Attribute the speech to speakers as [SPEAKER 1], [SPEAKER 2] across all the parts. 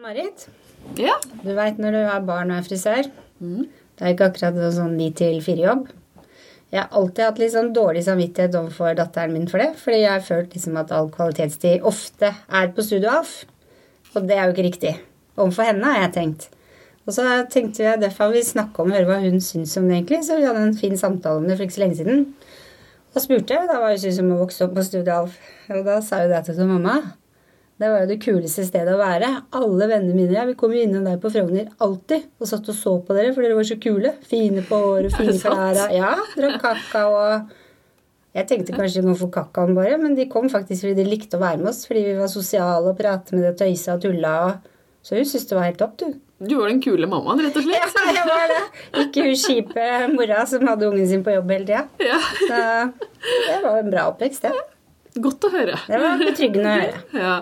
[SPEAKER 1] Marit,
[SPEAKER 2] Ja. Mm.
[SPEAKER 1] du veit når du er barn og er frisør. Det er ikke akkurat noe sånn ni til fire-jobb. Jeg har alltid hatt litt sånn dårlig samvittighet overfor datteren min for det. Fordi jeg har følt liksom at all kvalitetstid ofte er på Studio Alf. Og det er jo ikke riktig. Overfor henne har jeg tenkt. Og så tenkte jeg derfor vi snakke om høre hva hun syns om det egentlig. Så vi hadde en fin samtale om det for ikke så lenge siden. Da spurte jeg, da var hun som å vokse opp på Studio Alf. Og da sa jo det til henne, mamma. Det var jo det kuleste stedet å være. Alle vennene mine og jeg, vi kom jo innom der på Frogner alltid og satt og så på dere, for dere var så kule. Fine på håret, fine
[SPEAKER 2] sant?
[SPEAKER 1] klærne. Ja, drakk kakao og Jeg tenkte kanskje de kom for kakaoen bare, men de kom faktisk fordi de likte å være med oss, fordi vi var sosiale og pratet med det, tøysa og tulla og Så hun syntes det var helt topp, du.
[SPEAKER 2] Du var den kule mammaen, rett og
[SPEAKER 1] Ja,
[SPEAKER 2] slett.
[SPEAKER 1] jeg var det. Ikke hun kjipe mora som hadde ungen sin på jobb hele tida.
[SPEAKER 2] Ja.
[SPEAKER 1] Så det var en bra oppvekst, det.
[SPEAKER 2] Godt å høre. Mm.
[SPEAKER 1] Det var betryggende å høre.
[SPEAKER 2] Ja.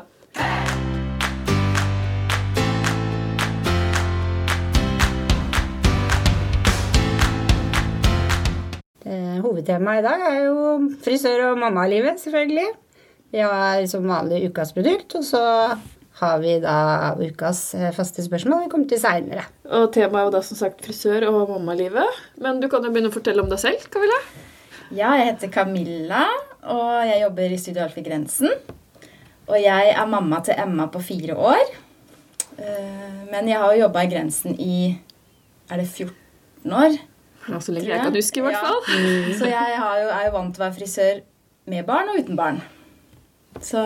[SPEAKER 1] Eh, Hovedtemaet i dag er jo frisør- og mammalivet, selvfølgelig. Vi har som vanlig ukas produkt, og så har vi da ukas eh, faste spørsmål. Vi kommer til seinere.
[SPEAKER 2] Og temaet er jo da som sagt frisør og mammalivet. Men du kan jo begynne å fortelle om deg selv, Camilla.
[SPEAKER 3] Ja, jeg heter Camilla, og jeg jobber i Studio Alf i Grensen. Og jeg er mamma til Emma på fire år. Eh, Men jeg har jo jobba i Grensen i Er det 14 år?
[SPEAKER 2] Ja, så lenge jeg kan huske, i hvert
[SPEAKER 3] Ja.
[SPEAKER 2] fall.
[SPEAKER 3] Så jeg har jo, er jo vant til å være frisør med barn og uten barn. Så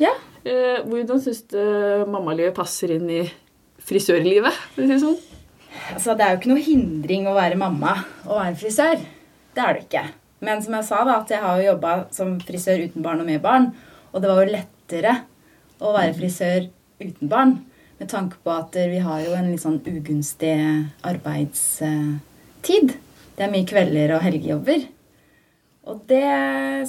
[SPEAKER 3] ja.
[SPEAKER 2] Eh, hvordan syns du eh, mammalivet passer inn i frisørlivet? for å si det sånn?
[SPEAKER 3] Altså, det er jo ikke noe hindring å være mamma og være frisør. Det er det ikke. Men som jeg sa, da, at jeg har jo jobba som frisør uten barn og med barn. Og det var jo lettere å være frisør uten barn. Med tanke på at eh, vi har jo en litt sånn ugunstig arbeidstid. Det er mye kvelder og helgejobber. Og det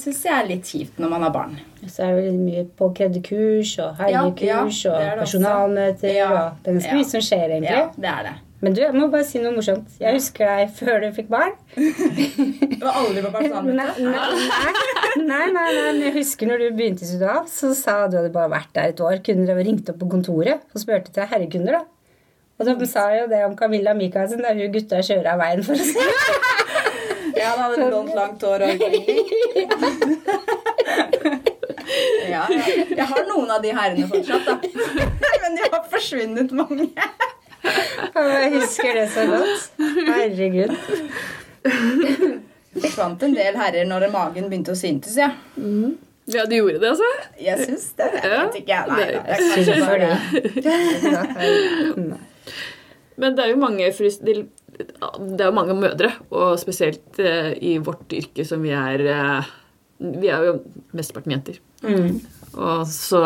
[SPEAKER 3] syns jeg er litt kjipt når man har barn.
[SPEAKER 1] Så er det veldig mye påkrevde kurs og
[SPEAKER 3] Ja, ja,
[SPEAKER 1] helgekurs
[SPEAKER 3] det er det
[SPEAKER 1] og
[SPEAKER 3] også.
[SPEAKER 1] personalmøter
[SPEAKER 3] Ja,
[SPEAKER 1] og Det er ganske
[SPEAKER 3] ja.
[SPEAKER 1] mye som skjer, egentlig.
[SPEAKER 3] Ja, det er det.
[SPEAKER 1] Men du, jeg må bare si noe morsomt. Jeg husker deg før du fikk barn.
[SPEAKER 3] Det var aldri på
[SPEAKER 1] Nei, nei, nei, nei, nei, men jeg husker når du begynte i Sudan, så sa du at du bare vært der et år. Kunne dere ringt opp på kontoret og spurte til herrekunder, da? Og de sa jo det om Camilla Michaelsen, da hun gutta kjører av veien for å se.
[SPEAKER 3] Ja, han hadde blondt, langt hår og ja, ja. Jeg har noen av de herrene fortsatt, da. Men de har forsvunnet mange.
[SPEAKER 1] Og jeg husker det så godt. Herregud.
[SPEAKER 3] Det forsvant en del herrer når magen begynte å syntes, ja.
[SPEAKER 2] Ja, du gjorde det, altså?
[SPEAKER 3] Jeg syns det. Jeg
[SPEAKER 2] Ja.
[SPEAKER 3] vet ikke. Nei, nei, det er
[SPEAKER 1] Synd
[SPEAKER 3] kanskje
[SPEAKER 1] for
[SPEAKER 3] bare
[SPEAKER 1] det.
[SPEAKER 2] Men det er jo mange, fris det det er jo mange mødre, og spesielt eh, i vårt yrke som vi er eh, Vi er jo mesteparten jenter.
[SPEAKER 1] Mm.
[SPEAKER 2] Og så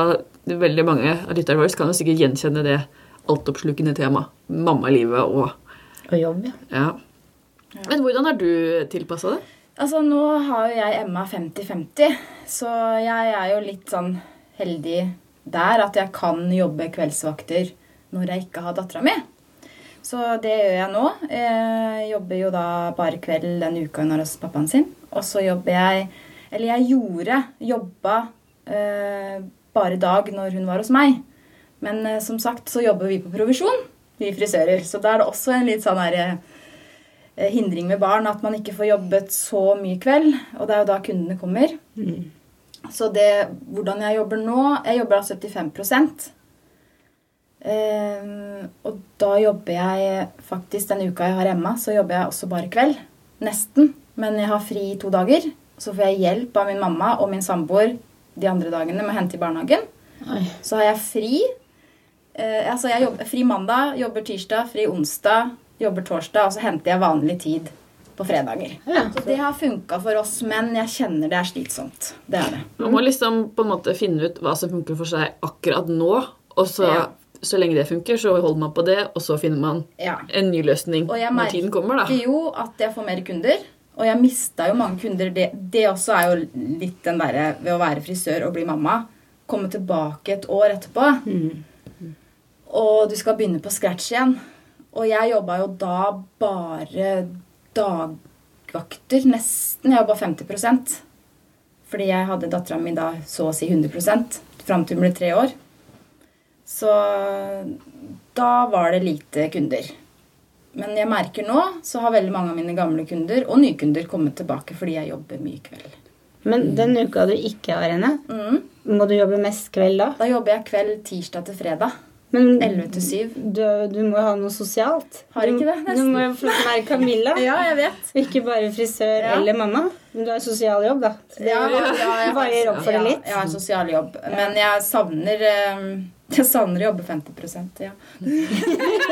[SPEAKER 2] veldig mange av lytterne våre kan jo sikkert gjenkjenne det altoppslukende temaet. Mammalivet og
[SPEAKER 1] Og jobb, ja.
[SPEAKER 2] ja. Men hvordan har du tilpassa det?
[SPEAKER 3] Altså, nå har jo jeg Emma 50-50, så jeg er jo litt sånn heldig der at jeg kan jobbe kveldsvakter når jeg ikke har dattera mi. Så det gjør jeg nå. Jeg jobber jo da bare kveld den uka hun har hos pappaen sin. Og så jobber jeg Eller jeg gjorde jobba eh, bare dag når hun var hos meg. Men eh, som sagt så jobber vi på provisjon, vi frisører. Så da er det også en litt sånn herre eh, hindring med barn at man ikke får jobbet så mye kveld. Og det er jo da kundene kommer. Så det, hvordan jeg jobber nå Jeg jobber da 75 Ehm, og da jobber jeg faktisk den uka jeg har Emma, så jobber jeg også bare kveld. Nesten. Men jeg har fri i to dager. Så får jeg hjelp av min mamma og min samboer de andre dagene med å hente i barnehagen.
[SPEAKER 1] Oi.
[SPEAKER 3] Så har jeg fri. Eh, altså jeg jobber, fri mandag, jobber tirsdag, fri onsdag, jobber torsdag, og så henter jeg vanlig tid på fredager.
[SPEAKER 1] Ja.
[SPEAKER 3] Så det har funka for oss, men jeg kjenner det er slitsomt. Det er det.
[SPEAKER 2] Man må liksom på en måte finne ut hva som funker for seg akkurat nå. Og så,
[SPEAKER 3] Ja.
[SPEAKER 2] så lenge det funker, så holder man på det, og så finner man
[SPEAKER 3] Ja.
[SPEAKER 2] en ny løsning
[SPEAKER 3] Og jeg
[SPEAKER 2] når tiden kommer, da.
[SPEAKER 3] merker jo at jeg får mer kunder. Og jeg mista jo mange kunder. Det, det også er jo litt den derre ved å være frisør og bli mamma. Komme tilbake et år etterpå,
[SPEAKER 2] Mm.
[SPEAKER 3] og du skal begynne på scratch igjen. Og jeg jobba jo da bare dagvakter, nesten. Jeg jobba 50 Fordi jeg hadde dattera mi da så å si 100 fram til hun ble tre år. Så da var det lite kunder. Men jeg merker nå så har veldig mange av mine gamle kunder og nye kunder kommet tilbake fordi jeg jobber mye kveld.
[SPEAKER 1] Men den uka du ikke har henne,
[SPEAKER 3] Mm.
[SPEAKER 1] må du jobbe mest kveld da?
[SPEAKER 3] Da jobber jeg kveld tirsdag til fredag.
[SPEAKER 1] Men
[SPEAKER 3] 11 til 7.
[SPEAKER 1] du, du må jo ha noe sosialt.
[SPEAKER 3] Har ikke det,
[SPEAKER 1] Du, du
[SPEAKER 3] nesten.
[SPEAKER 1] må jo få være Camilla.
[SPEAKER 3] Ja, jeg vet.
[SPEAKER 1] Ikke bare frisør
[SPEAKER 3] Ja.
[SPEAKER 1] eller mamma. Men du har sosial jobb, da. Så det
[SPEAKER 3] Ja, ja, jeg-
[SPEAKER 1] veier opp for det
[SPEAKER 3] ja,
[SPEAKER 1] litt.
[SPEAKER 3] Jeg har sosial jobb. Men jeg savner eh, Jeg savner å jobbe 50 ja.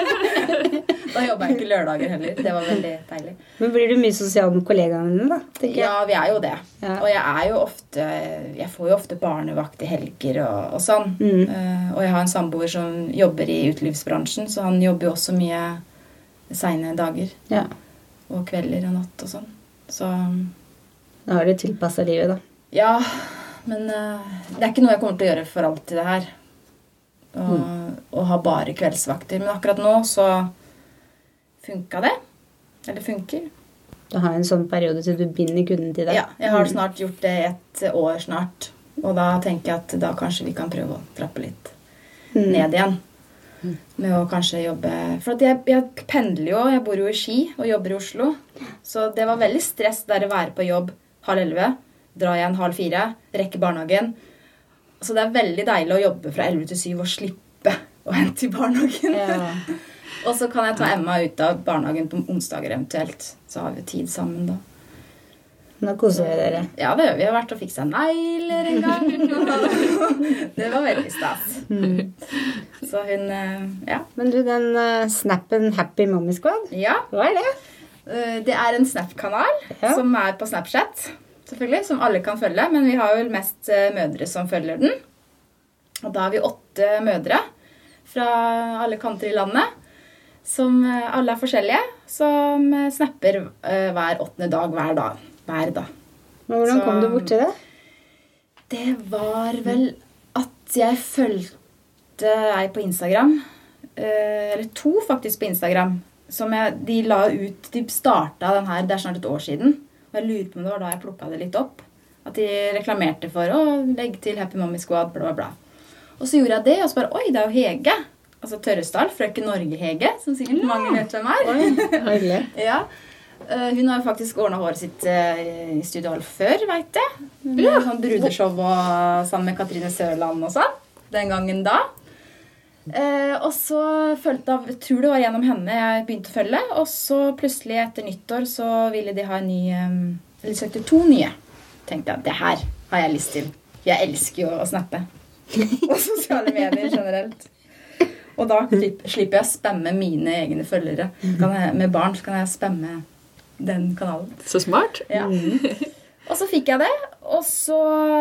[SPEAKER 3] da jobber jeg ikke lørdager heller. Det var veldig deilig.
[SPEAKER 1] Men blir du mye sosial med kollegaene dine, da? tenker jeg?
[SPEAKER 3] Ja, vi er jo det.
[SPEAKER 1] Ja.
[SPEAKER 3] Og jeg er jo ofte Jeg får jo ofte barnevakt i helger og, og sånn.
[SPEAKER 1] Mm.
[SPEAKER 3] Eh, og jeg har en samboer som jobber i utelivsbransjen, så han jobber jo også mye seine dager
[SPEAKER 1] ja.
[SPEAKER 3] og kvelder og natt og sånn. Så
[SPEAKER 1] Da har du tilpassa livet, da.
[SPEAKER 3] ja. Men eh, det er ikke noe jeg kommer til å gjøre for alltid, det her. Å å ha bare kveldsvakter. Men akkurat nå så funka det. Eller funker.
[SPEAKER 1] Du har en sånn periode til du binder kunden til deg.
[SPEAKER 3] Ja, jeg
[SPEAKER 1] Mm.
[SPEAKER 3] har snart gjort det i et år snart. Og da tenker jeg at da kanskje vi kan prøve å trappe litt
[SPEAKER 1] Mm.
[SPEAKER 3] ned igjen. Med å kanskje jobbe For at jeg, jeg pendler jo. Jeg bor jo i Ski og jobber i Oslo. Så det var veldig stress der å være på jobb halv elleve, dra igjen halv fire, rekke barnehagen. Så det er veldig deilig å jobbe fra elleve til syv og slippe å hente i barnehagen.
[SPEAKER 1] Ja.
[SPEAKER 3] Og så kan jeg ta Emma ut av barnehagen på onsdager eventuelt. Så har vi tid sammen da.
[SPEAKER 1] Nå koser vi dere.
[SPEAKER 3] Ja, det gjør vi. Vi har vært og fiksa negler en gang. det var veldig stas. Så hun eh, Ja.
[SPEAKER 1] Men du, den eh, snappen Happy Mommy Squad,
[SPEAKER 3] ja.
[SPEAKER 1] hva er det?
[SPEAKER 3] eh, Det er en Snap-kanal
[SPEAKER 1] Ja.
[SPEAKER 3] som er på Snapchat, selvfølgelig, som alle kan følge. Men vi har vel mest eh, mødre som følger den. Og da har vi åtte mødre fra alle kanter i landet. Som eh, alle er forskjellige, som eh, snapper eh, hver åttende dag hver dag. Hver dag.
[SPEAKER 1] Men hvordan
[SPEAKER 3] Så-
[SPEAKER 1] kom du borti det?
[SPEAKER 3] Det var vel at jeg fulgte ei på Instagram. eh, Eller to faktisk på Instagram. Som jeg, de la ut De starta den her, det er snart et år siden. Og jeg lurer på om det var da jeg plukka det litt opp. At de reklamerte for å legge til Happy Mommy Squad, bla, bla, bla. Og så gjorde jeg det, og så bare Oi, det er jo Hege. Altså Tørresdal. Frøken Norge-Hege, som sikkert mange vet hvem er.
[SPEAKER 1] Hyggelig.
[SPEAKER 3] Ja. Eh, hun har jo faktisk ordna håret sitt eh, i Studio Alf før, veit jeg. Hun har Sånn brudeshow og, sammen med Katrine Sørland og sånn. Den gangen da. Eh, og så følte jeg jeg tror det var gjennom henne jeg begynte å følge. Og så plutselig etter nyttår så ville de ha en ny eh, Eller søkte to nye. tenkte jeg det her har jeg lyst til. Jeg elsker jo å snappe. Og sosiale medier generelt. Og da klipp- slipper jeg å spamme mine egne følgere. Kan jeg, med barn så kan jeg spamme den kanalen.
[SPEAKER 2] Så smart.
[SPEAKER 3] Ja. Og så fikk jeg det. Og så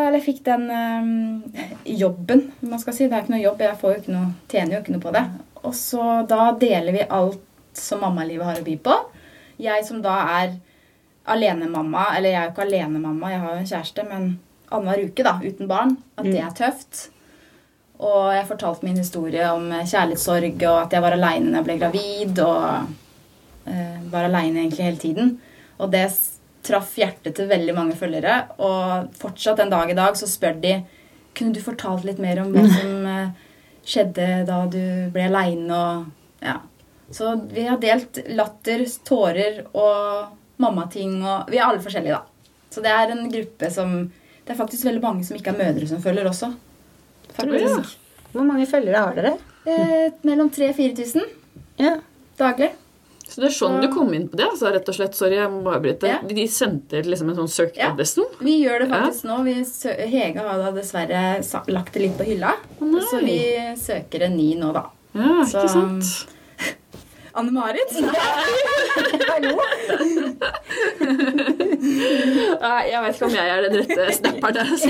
[SPEAKER 3] Eller jeg fikk den eh, jobben, om man skal si. Det er ikke noe jobb. Jeg får jo ikke noe, tjener jo ikke noe på det. Og så da deler vi alt som mammalivet har å by på. Jeg som da er alenemamma, eller jeg er jo ikke alenemamma, jeg har jo en kjæreste, men annenhver uke, da, uten barn. At det er tøft. Og jeg fortalte min historie om eh, kjærlighetssorg, og at jeg var aleine da jeg ble gravid, og eh, var aleine egentlig hele tiden. Og det s- traff hjertet til veldig mange følgere, og fortsatt en dag i dag så spør de kunne du fortalt litt mer om hva som eh, skjedde da du ble aleine og Ja. Så vi har delt latter, tårer og mammating og Vi er alle forskjellige, da. Så det er en gruppe som Det er faktisk veldig mange som ikke er mødre som følger også.
[SPEAKER 2] Ja.
[SPEAKER 3] Faktisk.
[SPEAKER 1] Hvor mange følgere har dere?
[SPEAKER 3] Eh, mellom 3000 og 4000
[SPEAKER 1] Ja.
[SPEAKER 3] daglig.
[SPEAKER 2] Så det er sånn du kom inn på det? altså rett og slett, Sorry, jeg må avbryte.
[SPEAKER 3] Ja.
[SPEAKER 2] De sendte liksom en sånn
[SPEAKER 3] Ja.
[SPEAKER 2] søknad nesten?
[SPEAKER 3] Vi gjør det faktisk nå. Vi sø Hege har da dessverre sa- lagt det litt på hylla.
[SPEAKER 2] nei.
[SPEAKER 3] Så vi søker en ny nå, da.
[SPEAKER 2] Ja, ikke
[SPEAKER 3] Så-
[SPEAKER 2] sant?
[SPEAKER 3] Anne Marit? Hallo?
[SPEAKER 2] Nei, jeg vet ikke om jeg er den rette snapperen der. Altså.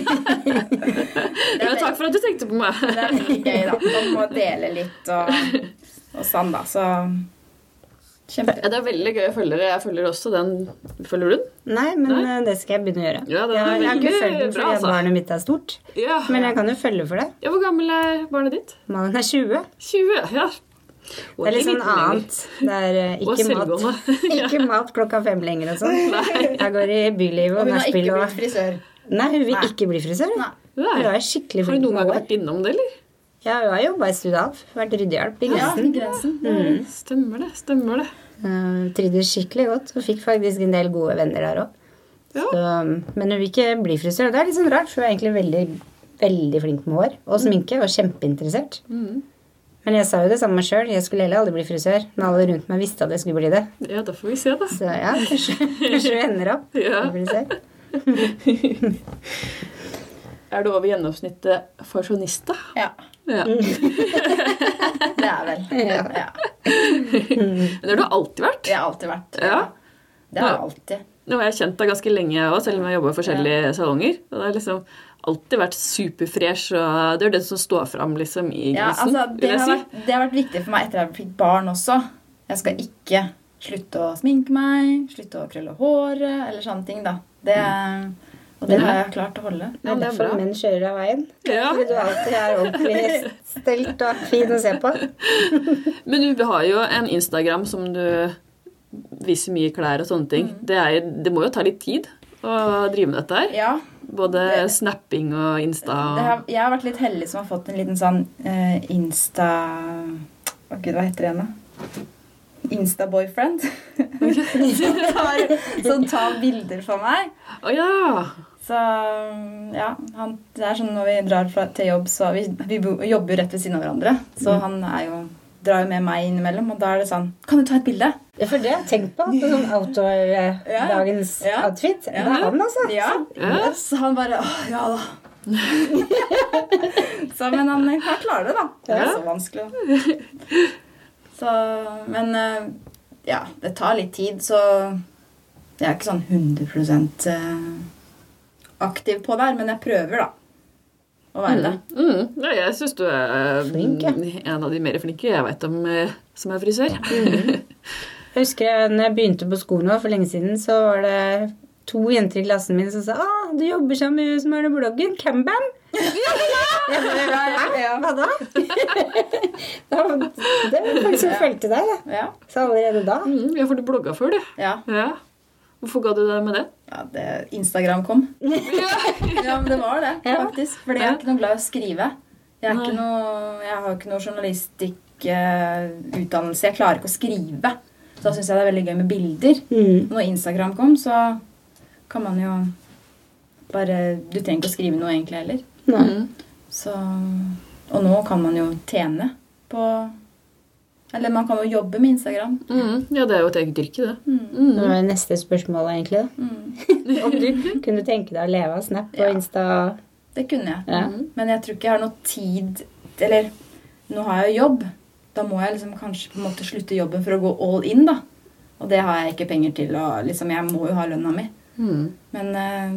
[SPEAKER 2] Ja, takk for at du tenkte på meg.
[SPEAKER 3] Det er veldig gøy, da. Man må dele litt og, og sånn, da. Så kjempe...
[SPEAKER 2] Ja, det er veldig gøy følgere. Jeg følger også den. Følger du den?
[SPEAKER 1] Nei, men
[SPEAKER 2] Nei.
[SPEAKER 1] eh, det skal jeg begynne å gjøre.
[SPEAKER 2] Ja, det er
[SPEAKER 1] jeg, har- jeg har ikke
[SPEAKER 2] veldig
[SPEAKER 1] følt den
[SPEAKER 2] bra,
[SPEAKER 1] fordi at
[SPEAKER 2] altså.
[SPEAKER 1] barnet mitt er stort.
[SPEAKER 2] Ja.
[SPEAKER 1] Men jeg kan jo følge for det.
[SPEAKER 2] ja. Hvor gammel er barnet ditt?
[SPEAKER 1] Mannen er 20.
[SPEAKER 2] 20. Ja. Og
[SPEAKER 1] Det er litt sånn
[SPEAKER 2] liten lenger.
[SPEAKER 1] annet. Det er eh,
[SPEAKER 2] Og
[SPEAKER 1] ikke mat.
[SPEAKER 2] selvgående.
[SPEAKER 1] Ikke mat klokka fem lenger og sånn. Jeg går i byliv
[SPEAKER 3] Og
[SPEAKER 1] og
[SPEAKER 3] hun har
[SPEAKER 1] nachspiel
[SPEAKER 3] ikke blitt
[SPEAKER 1] og
[SPEAKER 3] frisør.
[SPEAKER 1] Nei, hun vil
[SPEAKER 3] Nei.
[SPEAKER 1] ikke bli frisør. hun.
[SPEAKER 3] Nei.
[SPEAKER 1] Hun
[SPEAKER 2] Nei.
[SPEAKER 1] er skikkelig
[SPEAKER 2] Har du
[SPEAKER 1] flink
[SPEAKER 2] noen
[SPEAKER 1] med
[SPEAKER 2] gang
[SPEAKER 1] hår.
[SPEAKER 2] vært innom det, eller?
[SPEAKER 1] Ja, hun har jobba i Studalf. Vært ryddehjelp i
[SPEAKER 3] Ja,
[SPEAKER 1] Grensen. Mm.
[SPEAKER 3] grensen.
[SPEAKER 2] Stemmer det. Stemmer det.
[SPEAKER 1] Eh, Trivdes skikkelig godt og fikk faktisk en del gode venner der òg.
[SPEAKER 2] Ja.
[SPEAKER 1] Men hun vil ikke bli frisør. Det er litt sånn rart, for hun er egentlig veldig, veldig flink med hår og sminke og kjempeinteressert.
[SPEAKER 2] Mm.
[SPEAKER 1] Men jeg sa jo det samme sjøl. Jeg skulle heller aldri bli frisør. Men alle rundt meg visste at jeg skulle bli det.
[SPEAKER 2] ja, da får vi se, da.
[SPEAKER 1] Så ja, kanskje kanskje hun ender opp
[SPEAKER 2] Ja.
[SPEAKER 1] som frisør.
[SPEAKER 2] Er du over gjennomsnittet fasjonist, da?
[SPEAKER 3] Ja,
[SPEAKER 2] Ja.
[SPEAKER 1] Mm.
[SPEAKER 3] det er vel.
[SPEAKER 1] Ja.
[SPEAKER 3] Ja.
[SPEAKER 2] Men det har du alltid vært.
[SPEAKER 3] Det har alltid vært.
[SPEAKER 2] Ja.
[SPEAKER 3] Det har jeg alltid.
[SPEAKER 2] Nå har jeg kjent deg ganske lenge òg, selv om jeg jobber i forskjellige salonger. Og det har liksom alltid vært superfresh, og det er jo den som står fram liksom, i
[SPEAKER 3] Ja,
[SPEAKER 2] grensen,
[SPEAKER 3] altså, det,
[SPEAKER 2] vil jeg
[SPEAKER 3] har
[SPEAKER 2] si.
[SPEAKER 3] vært, det har vært viktig for meg etter at jeg fikk barn også. Jeg skal ikke slutte å sminke meg, slutte å krølle håret eller sånne ting. da. Det,
[SPEAKER 2] Mm.
[SPEAKER 3] og det har jeg klart å holde.
[SPEAKER 1] Det er derfor menn kjører av veien.
[SPEAKER 2] Ja.
[SPEAKER 1] Fordi du alltid er ordentlig stelt og fin å se på.
[SPEAKER 2] Men du har jo en Instagram som du viser mye klær og sånne ting. Det, er, det må jo ta litt tid å drive med dette her.
[SPEAKER 3] Mm. Ja,
[SPEAKER 2] Både
[SPEAKER 3] Det-
[SPEAKER 2] snapping og Insta.
[SPEAKER 3] det har, Jeg har vært litt heldig som har fått en liten sånn eh, insta... Å gud, hva heter det igjen, da? Insta-boyfriend. som, tar- som tar bilder for meg.
[SPEAKER 2] Å ja!
[SPEAKER 3] Så ja, han, det er sånn når vi drar fra, til jobb, så vi, vi bo, jobber jo rett ved siden av hverandre. Så
[SPEAKER 2] Mm.
[SPEAKER 3] han er jo, drar jo med meg innimellom, og da er det sånn Kan du ta et bilde?
[SPEAKER 1] Ja, for det har jeg tenkt på. på Sånn
[SPEAKER 3] Ja.
[SPEAKER 1] outdoor-dagens
[SPEAKER 3] Ja.
[SPEAKER 1] outfit. Det
[SPEAKER 3] Ja.
[SPEAKER 1] er han, altså.
[SPEAKER 3] Ja.
[SPEAKER 2] Ja.
[SPEAKER 3] Så han bare Å, ja da. så, men han han klarer det, da. Det er
[SPEAKER 2] Ja.
[SPEAKER 3] så vanskelig. å- Så Men eh, ja, det tar litt tid, så jeg er ikke sånn 100 eh, aktiv på der, men jeg prøver, da. Å være det.
[SPEAKER 2] Mm. Ja, jeg syns du er mm,
[SPEAKER 1] Flink, ja.
[SPEAKER 2] en av de mer flinke jeg veit om eh, som er frisør.
[SPEAKER 1] Jeg husker jeg, når jeg begynte på skolen nå for lenge siden, så var det to jenter i klassen min som sa ah, du jobber sammen med hun som har den bloggen, Cambam. Jeg bare, «Hæ? Hva da? Da- Det var folk som fulgte deg, da.
[SPEAKER 3] Ja.
[SPEAKER 1] Så allerede da.
[SPEAKER 2] Mm, ja, for du blogga før, du.
[SPEAKER 3] Ja,
[SPEAKER 2] Ja. Hvorfor ga du deg med det?
[SPEAKER 3] ja det, Instagram kom. ja, men det var det,
[SPEAKER 1] Ja.
[SPEAKER 3] faktisk. Fordi jeg er ikke noe glad i å skrive. Jeg, er ikke noe, jeg har ikke noe journalistikkutdannelse. jeg klarer ikke å skrive. Så da syns jeg det er veldig gøy med bilder.
[SPEAKER 1] Mm.
[SPEAKER 3] Når Instagram kom, så kan man jo bare Du trenger ikke å skrive noe egentlig heller.
[SPEAKER 1] Nei.
[SPEAKER 2] Mm.
[SPEAKER 3] Så, og nå kan man jo tjene på Eller man kan jo jobbe med Instagram.
[SPEAKER 2] Mm. Ja, det er jo et eget yrke, det.
[SPEAKER 3] Mm.
[SPEAKER 1] Det var jo neste spørsmål, egentlig. da.
[SPEAKER 3] Mm.
[SPEAKER 1] Om du kunne tenke deg å leve av Snap og
[SPEAKER 3] Ja.
[SPEAKER 1] Insta.
[SPEAKER 3] Det kunne jeg.
[SPEAKER 2] Mm.
[SPEAKER 1] Ja.
[SPEAKER 3] Men jeg tror ikke jeg har noe tid Eller nå har jeg jo jobb. Da må jeg liksom kanskje på en måte slutte jobben for å gå all in, da. Og det har jeg ikke penger til. Og liksom, jeg må jo ha lønna mi.
[SPEAKER 2] Mm.
[SPEAKER 3] Men eh,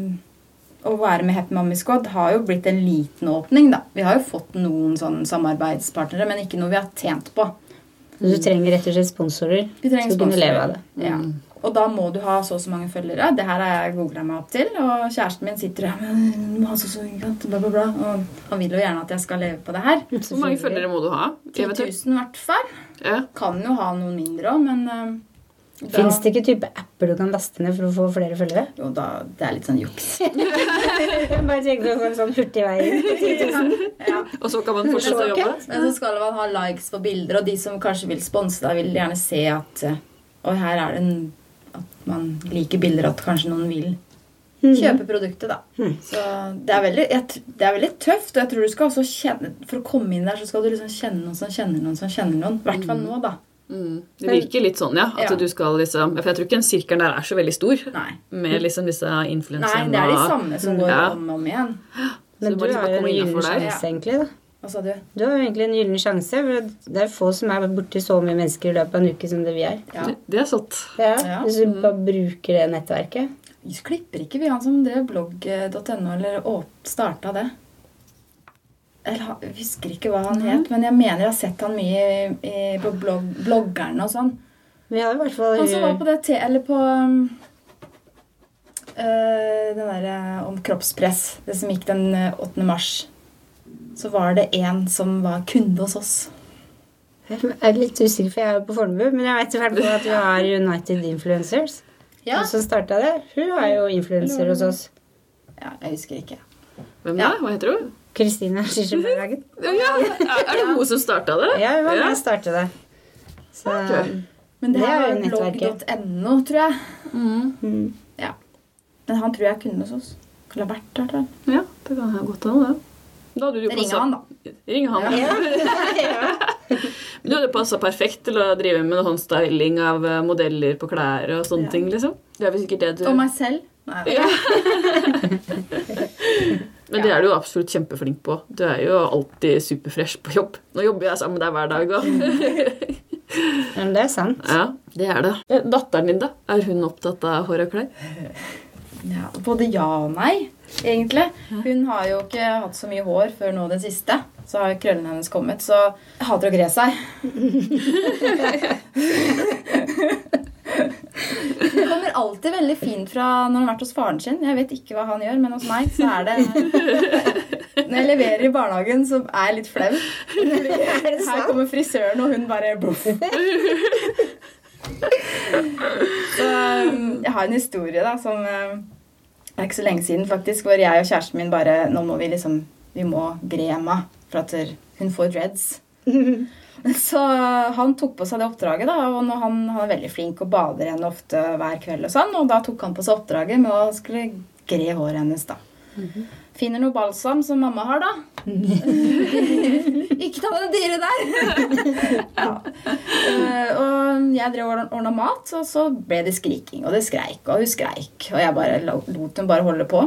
[SPEAKER 3] å være med Happy Mommy Squad har jo blitt en liten åpning, da. Vi har jo fått noen sånne samarbeidspartnere, men ikke noe vi har tjent på.
[SPEAKER 1] Så du trenger rett og slett sponsorer.
[SPEAKER 3] Vi trenger
[SPEAKER 1] Skal kunne
[SPEAKER 3] sponsorer.
[SPEAKER 1] leve av det. Mm.
[SPEAKER 3] Ja. Og da må du ha så og så mange følgere. Det her har jeg googla meg opp til. Og kjæresten min sitter der «Men, du må ha så og så mange, bla, bla, bla. Og han vil jo gjerne at jeg skal leve på det her.
[SPEAKER 2] Hvor mange følgere må du ha?
[SPEAKER 3] 10 000
[SPEAKER 2] Eventuelt.
[SPEAKER 3] i hvert fall.
[SPEAKER 2] Ja.
[SPEAKER 3] Kan jo ha noen mindre òg, men eh, da-
[SPEAKER 1] Fins det ikke type apper du kan laste ned for å få flere følgere?
[SPEAKER 3] Jo, da, det er litt sånn juks.
[SPEAKER 1] Jeg bare tenker på en sånn hurtig vei inn.
[SPEAKER 3] ja.
[SPEAKER 2] Og så kan man fortsette å
[SPEAKER 1] Sjokket.
[SPEAKER 2] jobbe?
[SPEAKER 3] Men så skal man ha likes på bilder, og de som kanskje vil sponse deg, vil gjerne se at eh, Og her er det en At man liker bilder, at kanskje noen vil kjøpe produktet, da. Så det er, veldig, jeg, tr- det er veldig tøft, og jeg tror du skal også kjenne For å komme inn der, så skal du liksom kjenne noen som kjenner noen som kjenner noen. I hvert fall nå, da.
[SPEAKER 2] Mm. Det virker litt sånn, ja. At
[SPEAKER 3] Ja.
[SPEAKER 2] du skal liksom For jeg tror ikke den sirkelen der er så veldig stor.
[SPEAKER 3] Nei.
[SPEAKER 2] Med liksom disse
[SPEAKER 3] Nei,
[SPEAKER 2] influenserne.
[SPEAKER 3] det er de
[SPEAKER 2] og-
[SPEAKER 3] samme som går
[SPEAKER 2] Ja.
[SPEAKER 3] om og om igjen.
[SPEAKER 1] Men du
[SPEAKER 2] Så må de
[SPEAKER 1] har jo
[SPEAKER 2] bare
[SPEAKER 1] en
[SPEAKER 2] komme
[SPEAKER 1] gyllen
[SPEAKER 2] innenfor der.
[SPEAKER 1] sjanse, egentlig. da.
[SPEAKER 3] Hva sa du?
[SPEAKER 1] Du har jo egentlig en gyllen sjanse. for Det er få som er borti så mye mennesker i løpet av en uke som det vi er.
[SPEAKER 3] Ja.
[SPEAKER 2] Det- Det er sant.
[SPEAKER 1] Ja,
[SPEAKER 3] Ja.
[SPEAKER 1] Hvis
[SPEAKER 2] Mm.
[SPEAKER 1] du bare bruker det nettverket.
[SPEAKER 3] Vi klipper ikke vi han som drev blogg.no, eller åp- starta det. Eller, ha- jeg husker ikke hva han het, men jeg mener jeg har sett han mye i, i, på blogg, bloggerne og sånn.
[SPEAKER 1] Vi har i hvert fall
[SPEAKER 3] Han som var på det te... Eller på um, øh, Den derre om kroppspress. Det som gikk den øh, 8. mars. Så var det en som var kunde hos oss.
[SPEAKER 1] Jeg er litt usikker, for jeg er jo på Fornebu, men jeg vet i hvert fall at vi har United Influencers. Hun som starta det, hun er jo influenser hos oss.
[SPEAKER 3] ja jeg husker ikke.
[SPEAKER 2] Hvem
[SPEAKER 3] Ja.
[SPEAKER 2] da? Hva heter hun?
[SPEAKER 1] Kristine Skisjeberghagen.
[SPEAKER 2] Ja, er det hun som starta det?
[SPEAKER 1] Ja, hun var med
[SPEAKER 2] Ja.
[SPEAKER 1] å starte det. Så,
[SPEAKER 2] Ok.
[SPEAKER 3] Men det,
[SPEAKER 1] Det
[SPEAKER 3] her
[SPEAKER 1] er
[SPEAKER 3] var
[SPEAKER 1] jo nettverket.
[SPEAKER 3] blogg.no, tror jeg.
[SPEAKER 1] mm.
[SPEAKER 3] Ja. Men han tror jeg er kunde hos oss. Eller har vært, i hvert fall.
[SPEAKER 2] Ja, det kan jeg godt hende, det. Da hadde du
[SPEAKER 3] Ring
[SPEAKER 2] passet-
[SPEAKER 3] han, da.
[SPEAKER 2] Ring han.
[SPEAKER 1] ja. ja.
[SPEAKER 2] Du hadde passa perfekt til å drive med håndstyling av eh, modeller på klær og sånne
[SPEAKER 3] Ja.
[SPEAKER 2] ting, liksom. Det er vel sikkert det du
[SPEAKER 3] Og meg selv. eh, Nei,
[SPEAKER 2] Ja. Men det
[SPEAKER 3] Ja.
[SPEAKER 2] er du jo absolutt kjempeflink på. Du er jo alltid superfresh på jobb. Nå jobber jeg sammen med deg hver dag.
[SPEAKER 3] Mm.
[SPEAKER 2] Og.
[SPEAKER 1] Men det er sant.
[SPEAKER 2] Ja, det er det. Eh, Datteren din, da? Er hun opptatt av hår og klær?
[SPEAKER 3] Ja, både ja og nei, egentlig. Hun har jo ikke hatt så mye hår før nå det siste. Så har jo krøllene hennes kommet, så jeg hater å gre seg. Hun kommer alltid veldig fint fra når hun har vært hos faren sin. Jeg vet ikke hva han gjør, men hos meg så er det Når jeg leverer i barnehagen, så er jeg litt flau.
[SPEAKER 1] Er det
[SPEAKER 3] Her
[SPEAKER 1] sant?
[SPEAKER 3] kommer frisøren, og hun bare boff. Så um, jeg har en historie da, som um, er ikke så lenge siden, faktisk, hvor jeg og kjæresten min bare Nå må vi liksom Vi må gre Emma, for at hun får dreads. Så eh, han tok på seg det oppdraget, da, og når han, han er veldig flink og bader henne ofte hver kveld. Og sånn, og da tok han på seg oppdraget med å skulle gre håret hennes. da. Finner noe balsam som mamma har, da. Ikke ta med det dyret der! ja. Eh, og jeg drev og ordna mat, og så ble det skriking. Og det skreik, og hun skreik. Og jeg bare lo- lot dem bare holde på.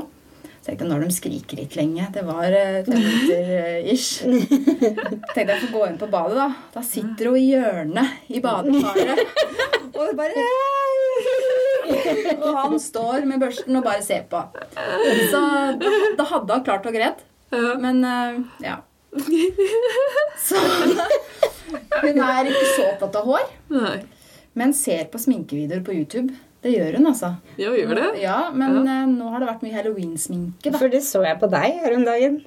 [SPEAKER 3] Så tenkte jeg, når de skriker litt lenge Det var eh, fem minutter eh, ish. tenkte jeg får gå inn på badet, da. Da sitter hun i hjørnet i badekaret. Og bare Og han står med børsten og bare ser på. Så da, da hadde han klart og greit. Men eh, ja. Så hun er ikke så opptatt av hår,
[SPEAKER 2] Nei.
[SPEAKER 3] men ser på sminkevideoer på YouTube. Det gjør hun, altså.
[SPEAKER 2] Ja, gjør det?
[SPEAKER 3] Ja, Men eh, nå har det vært mye halloween-sminke da,
[SPEAKER 1] For det så jeg på deg her om dagen.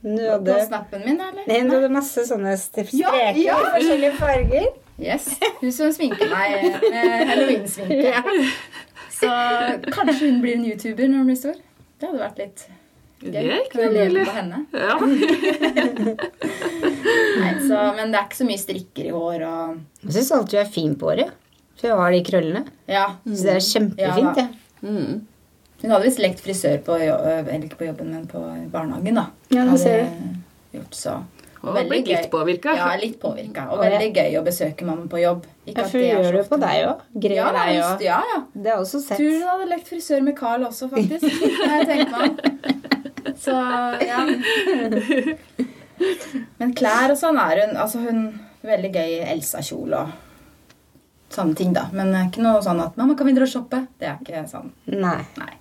[SPEAKER 1] Du
[SPEAKER 3] på
[SPEAKER 1] hadde,
[SPEAKER 3] snappen min. eller?
[SPEAKER 1] Nei, du hadde masse sånne st-
[SPEAKER 3] Ja,
[SPEAKER 1] streker i
[SPEAKER 3] ja.
[SPEAKER 1] forskjellige farger.
[SPEAKER 3] Yes, Hun som sminker meg eh, med halloween-sminke. Så kanskje hun blir en YouTuber når hun blir stor. Det hadde vært litt
[SPEAKER 2] Det er
[SPEAKER 3] gøy.
[SPEAKER 2] ikke
[SPEAKER 3] Kan jeg
[SPEAKER 2] noe
[SPEAKER 3] leve
[SPEAKER 2] mulig.
[SPEAKER 3] på henne?
[SPEAKER 2] Ja.
[SPEAKER 3] Nei, så, men det er ikke så mye strikker i hår og
[SPEAKER 1] Jeg syns alltid du er fin på håret. For jeg har de krøllene.
[SPEAKER 3] Mm. Ja.
[SPEAKER 1] Så det er
[SPEAKER 3] Ja,
[SPEAKER 1] kjempefint,
[SPEAKER 3] da.
[SPEAKER 1] det.
[SPEAKER 2] Mm.
[SPEAKER 3] Hun hadde visst lekt frisør på, jo- eh, eller ikke på jobben, men på barnehagen, da.
[SPEAKER 1] Ja, det
[SPEAKER 3] Hadde
[SPEAKER 1] ser du.
[SPEAKER 3] Gjort, så.
[SPEAKER 2] Og har blitt litt påvirka.
[SPEAKER 3] Ja, litt påvirka. Og
[SPEAKER 1] Og jeg-
[SPEAKER 3] veldig gøy å besøke mamma på jobb. Ikke
[SPEAKER 1] Ja,
[SPEAKER 3] at
[SPEAKER 1] for du
[SPEAKER 3] det er så
[SPEAKER 1] gjør det
[SPEAKER 3] ofte.
[SPEAKER 1] på deg òg.
[SPEAKER 3] Ja,
[SPEAKER 1] Greier
[SPEAKER 3] da,
[SPEAKER 1] deg
[SPEAKER 3] just-
[SPEAKER 1] òg.
[SPEAKER 3] ja, ja.
[SPEAKER 1] Det er også
[SPEAKER 3] Tror
[SPEAKER 1] sett.
[SPEAKER 3] du hun hadde lekt frisør med Carl også, faktisk? Når jeg tenker meg om. Så, ja. Men klær og sånn er hun. Altså, hun veldig gøy Elsa-kjole og sånne ting, da. Men det er ikke noe sånn at 'Mamma, kan vi dra og shoppe?' Det er ikke sånn.
[SPEAKER 1] Nei.
[SPEAKER 3] Nei.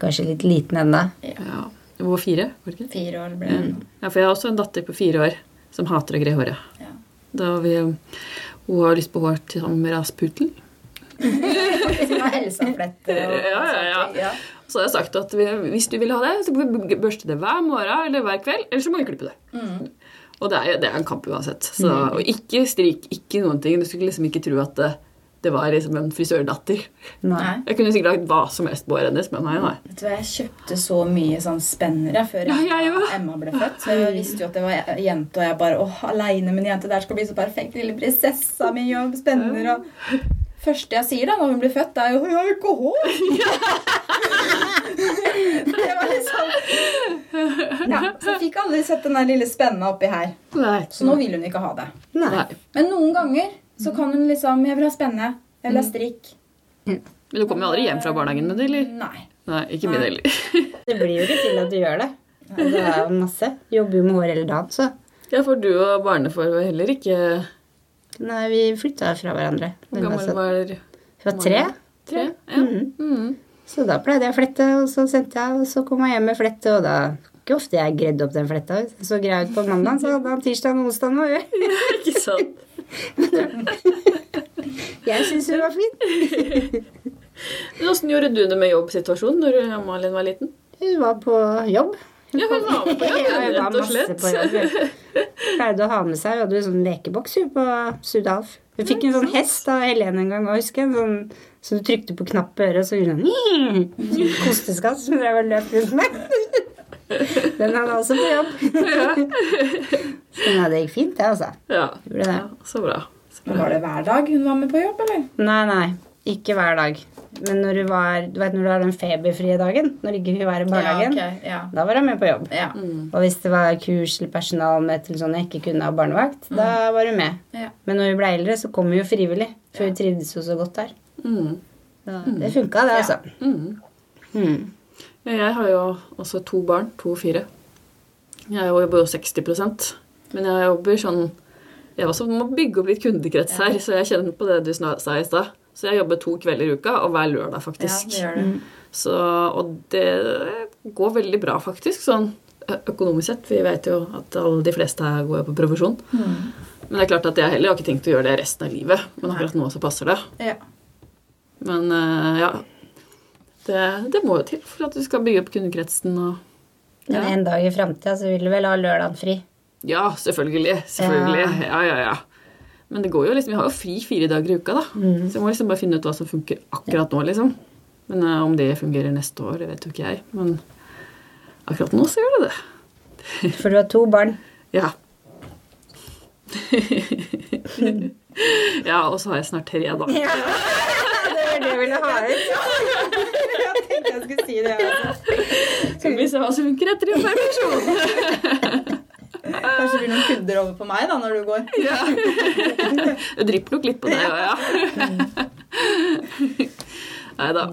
[SPEAKER 1] Kanskje litt liten ennå.
[SPEAKER 2] Ja. Hun var fire, var det ikke?
[SPEAKER 3] Fire år ble hun.
[SPEAKER 2] Ja, for jeg har også en datter på fire år som hater å gre håret.
[SPEAKER 3] Ja.
[SPEAKER 2] Da vi, hun har lyst på hår til sånn Rasputin.
[SPEAKER 3] Som har Elsa-fletter og
[SPEAKER 2] Ja, ja, ja.
[SPEAKER 3] sånne ting, ja.
[SPEAKER 2] Så har jeg sagt at vi, hvis du vil ha det, så kan vi børste det hver morgen eller hver kveld. Eller så må vi klippe det. Og det er, det er en kamp uansett. Så, og ikke strik, ikke noen ting. Du skulle liksom ikke tro at det, det var liksom en frisørdatter.
[SPEAKER 1] Nei.
[SPEAKER 3] Nei.
[SPEAKER 2] Jeg kunne sikkert lagd hva som helst på håret hennes, men nei, nei.
[SPEAKER 3] Vet du hva, Jeg kjøpte så mye sånn spennere før
[SPEAKER 2] Ja, jeg
[SPEAKER 3] Emma-
[SPEAKER 2] også.
[SPEAKER 3] Emma ble født. Så jeg visste jo at det var je- jente, og jeg bare åh, aleine med en jente der skal bli så perfekt. Lille prinsessa mi og spenner og Første jeg sier da når hun blir født, er jo 'Jeg har jo ikke hår'. det var liksom Ja, så fikk jeg aldri sett den der lille spenna oppi her.
[SPEAKER 2] Nei.
[SPEAKER 3] Så nå vil hun ikke ha det.
[SPEAKER 1] Nei.
[SPEAKER 2] Nei.
[SPEAKER 3] Men noen ganger så kan hun liksom 'Jeg vil ha spenne. Jeg vil ha strikk'.
[SPEAKER 2] Men du kommer jo aldri hjem fra barnehagen med det, Mm. eller?
[SPEAKER 3] Nei.
[SPEAKER 2] Nei, ikke min
[SPEAKER 3] Nei.
[SPEAKER 2] heller.
[SPEAKER 1] Det blir jo ikke til at du gjør det. Og Det er jo masse. Jobber jo med hår hele dagen, så.
[SPEAKER 2] Ja, for du og barnefar var heller ikke
[SPEAKER 1] Nei, vi flytta fra hverandre.
[SPEAKER 2] Hvor
[SPEAKER 1] Det var
[SPEAKER 2] gammel
[SPEAKER 1] sånn-
[SPEAKER 2] var
[SPEAKER 1] Vi var tre.
[SPEAKER 2] Tre? Ja.
[SPEAKER 1] Mhm.
[SPEAKER 2] Mhm.
[SPEAKER 1] Så da pleide jeg å flette, og så sendte jeg, og så kom jeg hjem med flette, og da ikke ofte jeg gredde opp den fletta. Hvis jeg Så grei ut på mandag, så hadde han tirsdag og onsdag nå. jeg.
[SPEAKER 2] Ikke sant?
[SPEAKER 1] Jeg syns hun var fin.
[SPEAKER 2] Men Hvordan gjorde du det med jobbsituasjonen når Malin var liten?
[SPEAKER 1] Hun var på jobb.
[SPEAKER 2] Ja, hun var med på jobb,
[SPEAKER 1] Ja, hun var
[SPEAKER 2] rett og
[SPEAKER 1] masse
[SPEAKER 2] slett.
[SPEAKER 1] på jobb. Hun Pleide å ha med seg, hun hadde jo sånn lekeboks hun, på Sudalf. Hun fikk en sånn hest av Helene en gang, og husker jeg, en sånn, så du trykte på knapp på øret, og så gjorde hun sånn «Nyeh!» Sånn kosteskatt som drev og løp rundt meg. Den hadde også på jobb. Så Nei, det gikk fint, det, altså.
[SPEAKER 2] Ja.
[SPEAKER 1] Gjorde det.
[SPEAKER 2] ja så bra. Så
[SPEAKER 3] Men var
[SPEAKER 2] bra.
[SPEAKER 3] det hver dag hun var med på jobb, eller?
[SPEAKER 1] Nei, nei. Ikke hver dag. Men når du, var, du vet når du har den feberfrie dagen, når ikke hun var i barnehagen,
[SPEAKER 3] Ja, ok, ja.
[SPEAKER 1] da var hun med på jobb.
[SPEAKER 3] Ja.
[SPEAKER 2] Mm,
[SPEAKER 1] Og hvis det var kurs eller personalmøte eller sånn jeg ikke kunne ha barnevakt, da var hun med.
[SPEAKER 3] Ja.
[SPEAKER 1] Men når hun ble eldre, så kom hun jo frivillig, for hun trivdes jo så godt der.
[SPEAKER 2] Mm.
[SPEAKER 1] Da, det funka, det,
[SPEAKER 3] Ja.
[SPEAKER 1] altså.
[SPEAKER 2] Mm.
[SPEAKER 1] Mm.
[SPEAKER 2] Ja, Jeg har jo også to barn, to og fire. Jeg jobber jo 60 men jeg jobber sånn Jeg også må bygge opp litt kundekrets her, så jeg kjenner på det du sna- sa i stad. Så jeg jobber to kvelder i uka, og hver lørdag,
[SPEAKER 3] ja,
[SPEAKER 2] faktisk.
[SPEAKER 3] det gjør det.
[SPEAKER 2] så, og det går veldig bra, faktisk, sånn ø- økonomisk sett. Vi vet jo at alle de fleste her går jo på provisjon.
[SPEAKER 3] Mm.
[SPEAKER 2] Men det er klart at jeg heller har ikke tenkt å gjøre det resten av livet. Men akkurat nå så passer det.
[SPEAKER 3] Ja.
[SPEAKER 2] Men ø, ja Det, det må jo til for at du skal bygge opp kundekretsen og
[SPEAKER 1] Men
[SPEAKER 2] Ja.
[SPEAKER 1] en dag i framtida så vil du vel ha lørdagen fri.
[SPEAKER 2] Ja, selvfølgelig. Selvfølgelig. Ja, ja, ja. Men det går jo liksom, vi har jo fri fire dager i uka, da. Så vi må liksom bare finne ut hva som funker akkurat nå, liksom. Men eh, om det fungerer neste år, det vet jo ikke jeg. Men akkurat nå så gjør det det.
[SPEAKER 1] For du har to barn.
[SPEAKER 2] Ja. ja, og så har jeg snart tre, da.
[SPEAKER 1] Ja. Det var det jeg ville ha ut. Jeg tenkte jeg skulle si det. Altså.
[SPEAKER 2] Skal vi se hva som funker etter en permisjon.
[SPEAKER 3] Kanskje det blir noen kunder over på meg da, når du går.
[SPEAKER 2] ja. Det drypper nok litt på deg òg, ja. Nei da.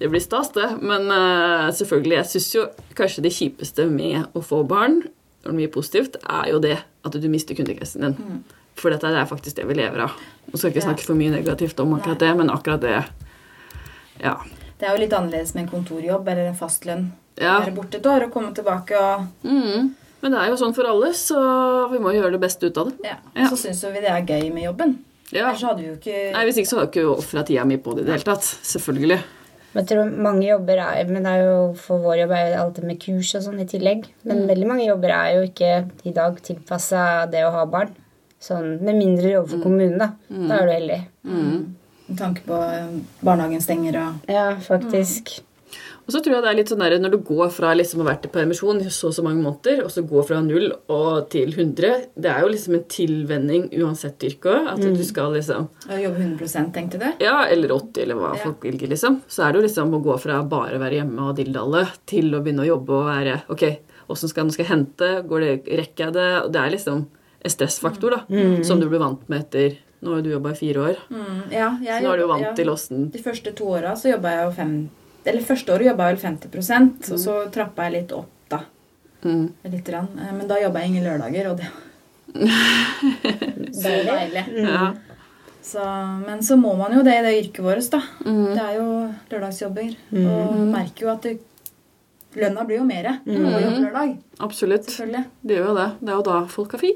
[SPEAKER 2] Det blir stas, det. Men eh, selvfølgelig, jeg syns jo kanskje det kjipeste med å få barn, og mye positivt, er jo det at du mister kundekretsen din. For dette er faktisk det vi lever av. Nå skal jeg ikke
[SPEAKER 3] Ja.
[SPEAKER 2] snakke for mye negativt om akkurat det, men akkurat det Ja.
[SPEAKER 3] Det er jo litt annerledes med en kontorjobb eller en fastlønn.
[SPEAKER 2] Ja.
[SPEAKER 3] Være borte et år og komme tilbake og
[SPEAKER 2] Mm. Men det er jo sånn for alle, så vi må gjøre det beste ut av det.
[SPEAKER 3] ja.
[SPEAKER 2] Ja.
[SPEAKER 3] Så syns jo vi det er gøy med jobben.
[SPEAKER 2] Ja.
[SPEAKER 3] Ellers hadde vi jo ikke
[SPEAKER 2] Nei, Hvis ikke så har jeg ikke ofra tida mi på det i det hele tatt. Selvfølgelig.
[SPEAKER 1] Men jeg tror mange jobber er, men det er jo, For vår jobb er jo alt det med kurs og sånn i tillegg. Men veldig mange jobber er jo ikke i dag tilpassa det å ha barn. Sånn, Med mindre du jobber for kommunen, da. Da er du heldig.
[SPEAKER 3] Med tanke på eh, barnehagen stenger og
[SPEAKER 1] Ja, faktisk.
[SPEAKER 2] Og så tror jeg det er litt sånn der, Når du går fra liksom å ha vært i permisjon i så og så mange måneder, og så går fra null og til 100 Det er jo liksom en tilvenning uansett yrke òg. At du skal liksom
[SPEAKER 3] og jobbe 100 tenkte du?
[SPEAKER 2] Ja, eller 80, eller hva
[SPEAKER 3] Ja.
[SPEAKER 2] folk velger, liksom. Så er det jo liksom å gå fra bare å være hjemme og dildalle til å begynne å jobbe og være Ok, åssen skal jeg nå skal jeg hente? Går det, rekker jeg det? Og det er liksom en stressfaktor, da. Som du blir vant med etter Nå har jo du jobba i fire år.
[SPEAKER 3] Mm, ja, jeg,
[SPEAKER 2] Så nå er du jo
[SPEAKER 3] jobbet-
[SPEAKER 2] vant
[SPEAKER 3] ja.
[SPEAKER 2] til åssen
[SPEAKER 3] De første to åra så jobba jeg jo fem Eller første året jobba jeg vel 50 og så trappa jeg litt opp, da.
[SPEAKER 2] mm.
[SPEAKER 3] Litt grann. Eh, Men da jobba jeg ingen lørdager, og det var så deilig. Mm.
[SPEAKER 2] Ja.
[SPEAKER 3] Så, men så må man jo det i det yrket vårt, da.
[SPEAKER 2] Mm.
[SPEAKER 3] Det er jo lørdagsjobber. Og merker jo at det, lønna blir jo mer å
[SPEAKER 2] Mm.
[SPEAKER 3] jobbe lørdag.
[SPEAKER 2] Absolutt.
[SPEAKER 3] Selvfølgelig.
[SPEAKER 2] Det gjør jo det. Det er jo da folk har fri.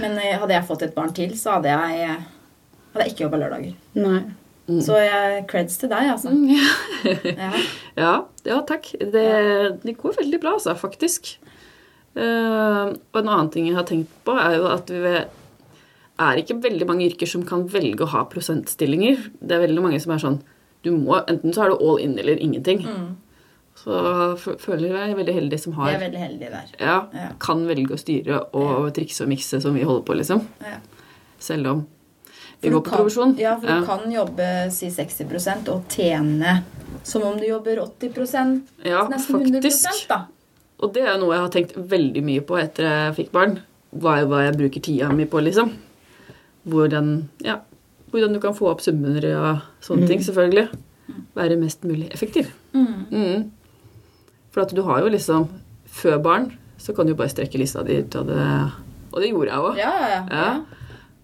[SPEAKER 3] Men eh, hadde jeg fått et barn til, så hadde jeg, hadde jeg ikke jobba lørdager.
[SPEAKER 1] Nei.
[SPEAKER 3] Så jeg, creds til deg, altså.
[SPEAKER 2] Mm, ja.
[SPEAKER 3] Ja.
[SPEAKER 2] ja, ja, takk. Det, det går veldig bra, altså, faktisk. Eh, og en annen ting jeg har tenkt på, er jo at vi er ikke veldig mange yrker som kan velge å ha prosentstillinger. Det er veldig mange som er sånn du må, Enten så er du all in eller ingenting.
[SPEAKER 3] Mm.
[SPEAKER 2] Så f- føler jeg veldig heldig som
[SPEAKER 3] Vi er
[SPEAKER 2] har
[SPEAKER 3] veldig heldige der.
[SPEAKER 2] ja,
[SPEAKER 3] Ja.
[SPEAKER 2] kan velge å styre og trikse og mikse som vi holder på, liksom.
[SPEAKER 3] Ja.
[SPEAKER 2] Selv om vi
[SPEAKER 3] For
[SPEAKER 2] går
[SPEAKER 3] du
[SPEAKER 2] på
[SPEAKER 3] kan-
[SPEAKER 2] provisjon.
[SPEAKER 3] Ja, for du kan jobbe si 60 og tjene som om du jobber 80
[SPEAKER 2] Ja,
[SPEAKER 3] nesten
[SPEAKER 2] faktisk.
[SPEAKER 3] 100 da.
[SPEAKER 2] Og det er jo noe jeg har tenkt veldig mye på etter jeg fikk barn. Hva, hva jeg bruker tida mi på, liksom. Hvordan, ja, hvordan du kan få opp summer og
[SPEAKER 3] Mhm.
[SPEAKER 2] sånne ting, selvfølgelig. Være mest mulig effektiv.
[SPEAKER 3] Mm.
[SPEAKER 2] Mm. For at du har jo liksom Før barn så kan du bare strekke lista di ut, og det, og det gjorde jeg òg.
[SPEAKER 3] Ja, ja, ja. ja.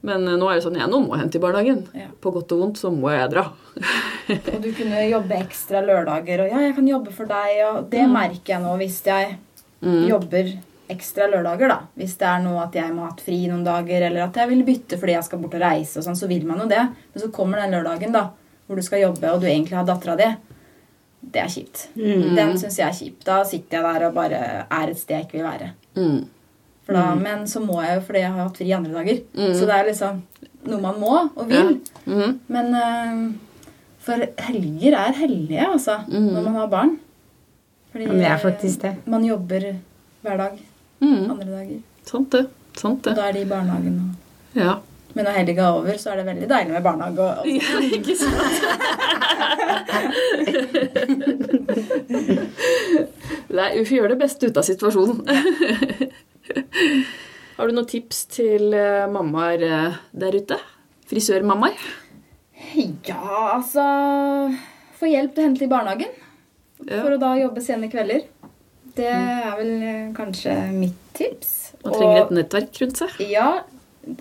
[SPEAKER 2] Men eh, nå er det sånn ja, nå må jeg hente i barnehagen.
[SPEAKER 3] Ja.
[SPEAKER 2] På godt og vondt så må jeg dra.
[SPEAKER 3] Og du kunne jobbe ekstra lørdager, og ja, jeg kan jobbe for deg, og det merker jeg nå hvis jeg
[SPEAKER 2] Mm.
[SPEAKER 3] jobber ekstra lørdager, da. Hvis det er noe at jeg må ha hatt fri noen dager, eller at jeg vil bytte fordi jeg skal bort og reise og sånn, så vil man jo det. Men så kommer den lørdagen, da, hvor du skal jobbe, og du egentlig har dattera di. Det er kjipt.
[SPEAKER 1] Mm.
[SPEAKER 3] Den syns jeg er kjip. Da sitter jeg der og bare er et sted jeg ikke vil være.
[SPEAKER 2] Mm.
[SPEAKER 3] For da, Men så må jeg jo fordi jeg har hatt fri andre dager.
[SPEAKER 1] Mm.
[SPEAKER 3] Så det er liksom noe man må og
[SPEAKER 2] Ja.
[SPEAKER 3] vil.
[SPEAKER 2] Mm.
[SPEAKER 3] Men eh, for helger er hellige, altså, når man har barn. For Fordi
[SPEAKER 1] Mm. Ja, men det er faktisk det.
[SPEAKER 3] eh, man jobber hver dag
[SPEAKER 2] Mm,
[SPEAKER 3] andre dager.
[SPEAKER 2] sant det. Sant
[SPEAKER 3] Og
[SPEAKER 2] det.
[SPEAKER 3] da er de i barnehagen. og-
[SPEAKER 2] Ja.
[SPEAKER 3] Men når helga er over, så er det veldig deilig med barnehage. Og, og,
[SPEAKER 2] ja ikke sant? Nei, vi får gjøre det beste ut av situasjonen. Har du noen tips til eh, mammaer eh, der ute? Frisørmammaer?
[SPEAKER 3] Ja, altså Få hjelp til å hente i barnehagen.
[SPEAKER 2] Ja.
[SPEAKER 3] For å da jobbe sene kvelder. Det er vel eh, kanskje mitt tips.
[SPEAKER 2] Man trenger et nettverk rundt seg.
[SPEAKER 3] Ja,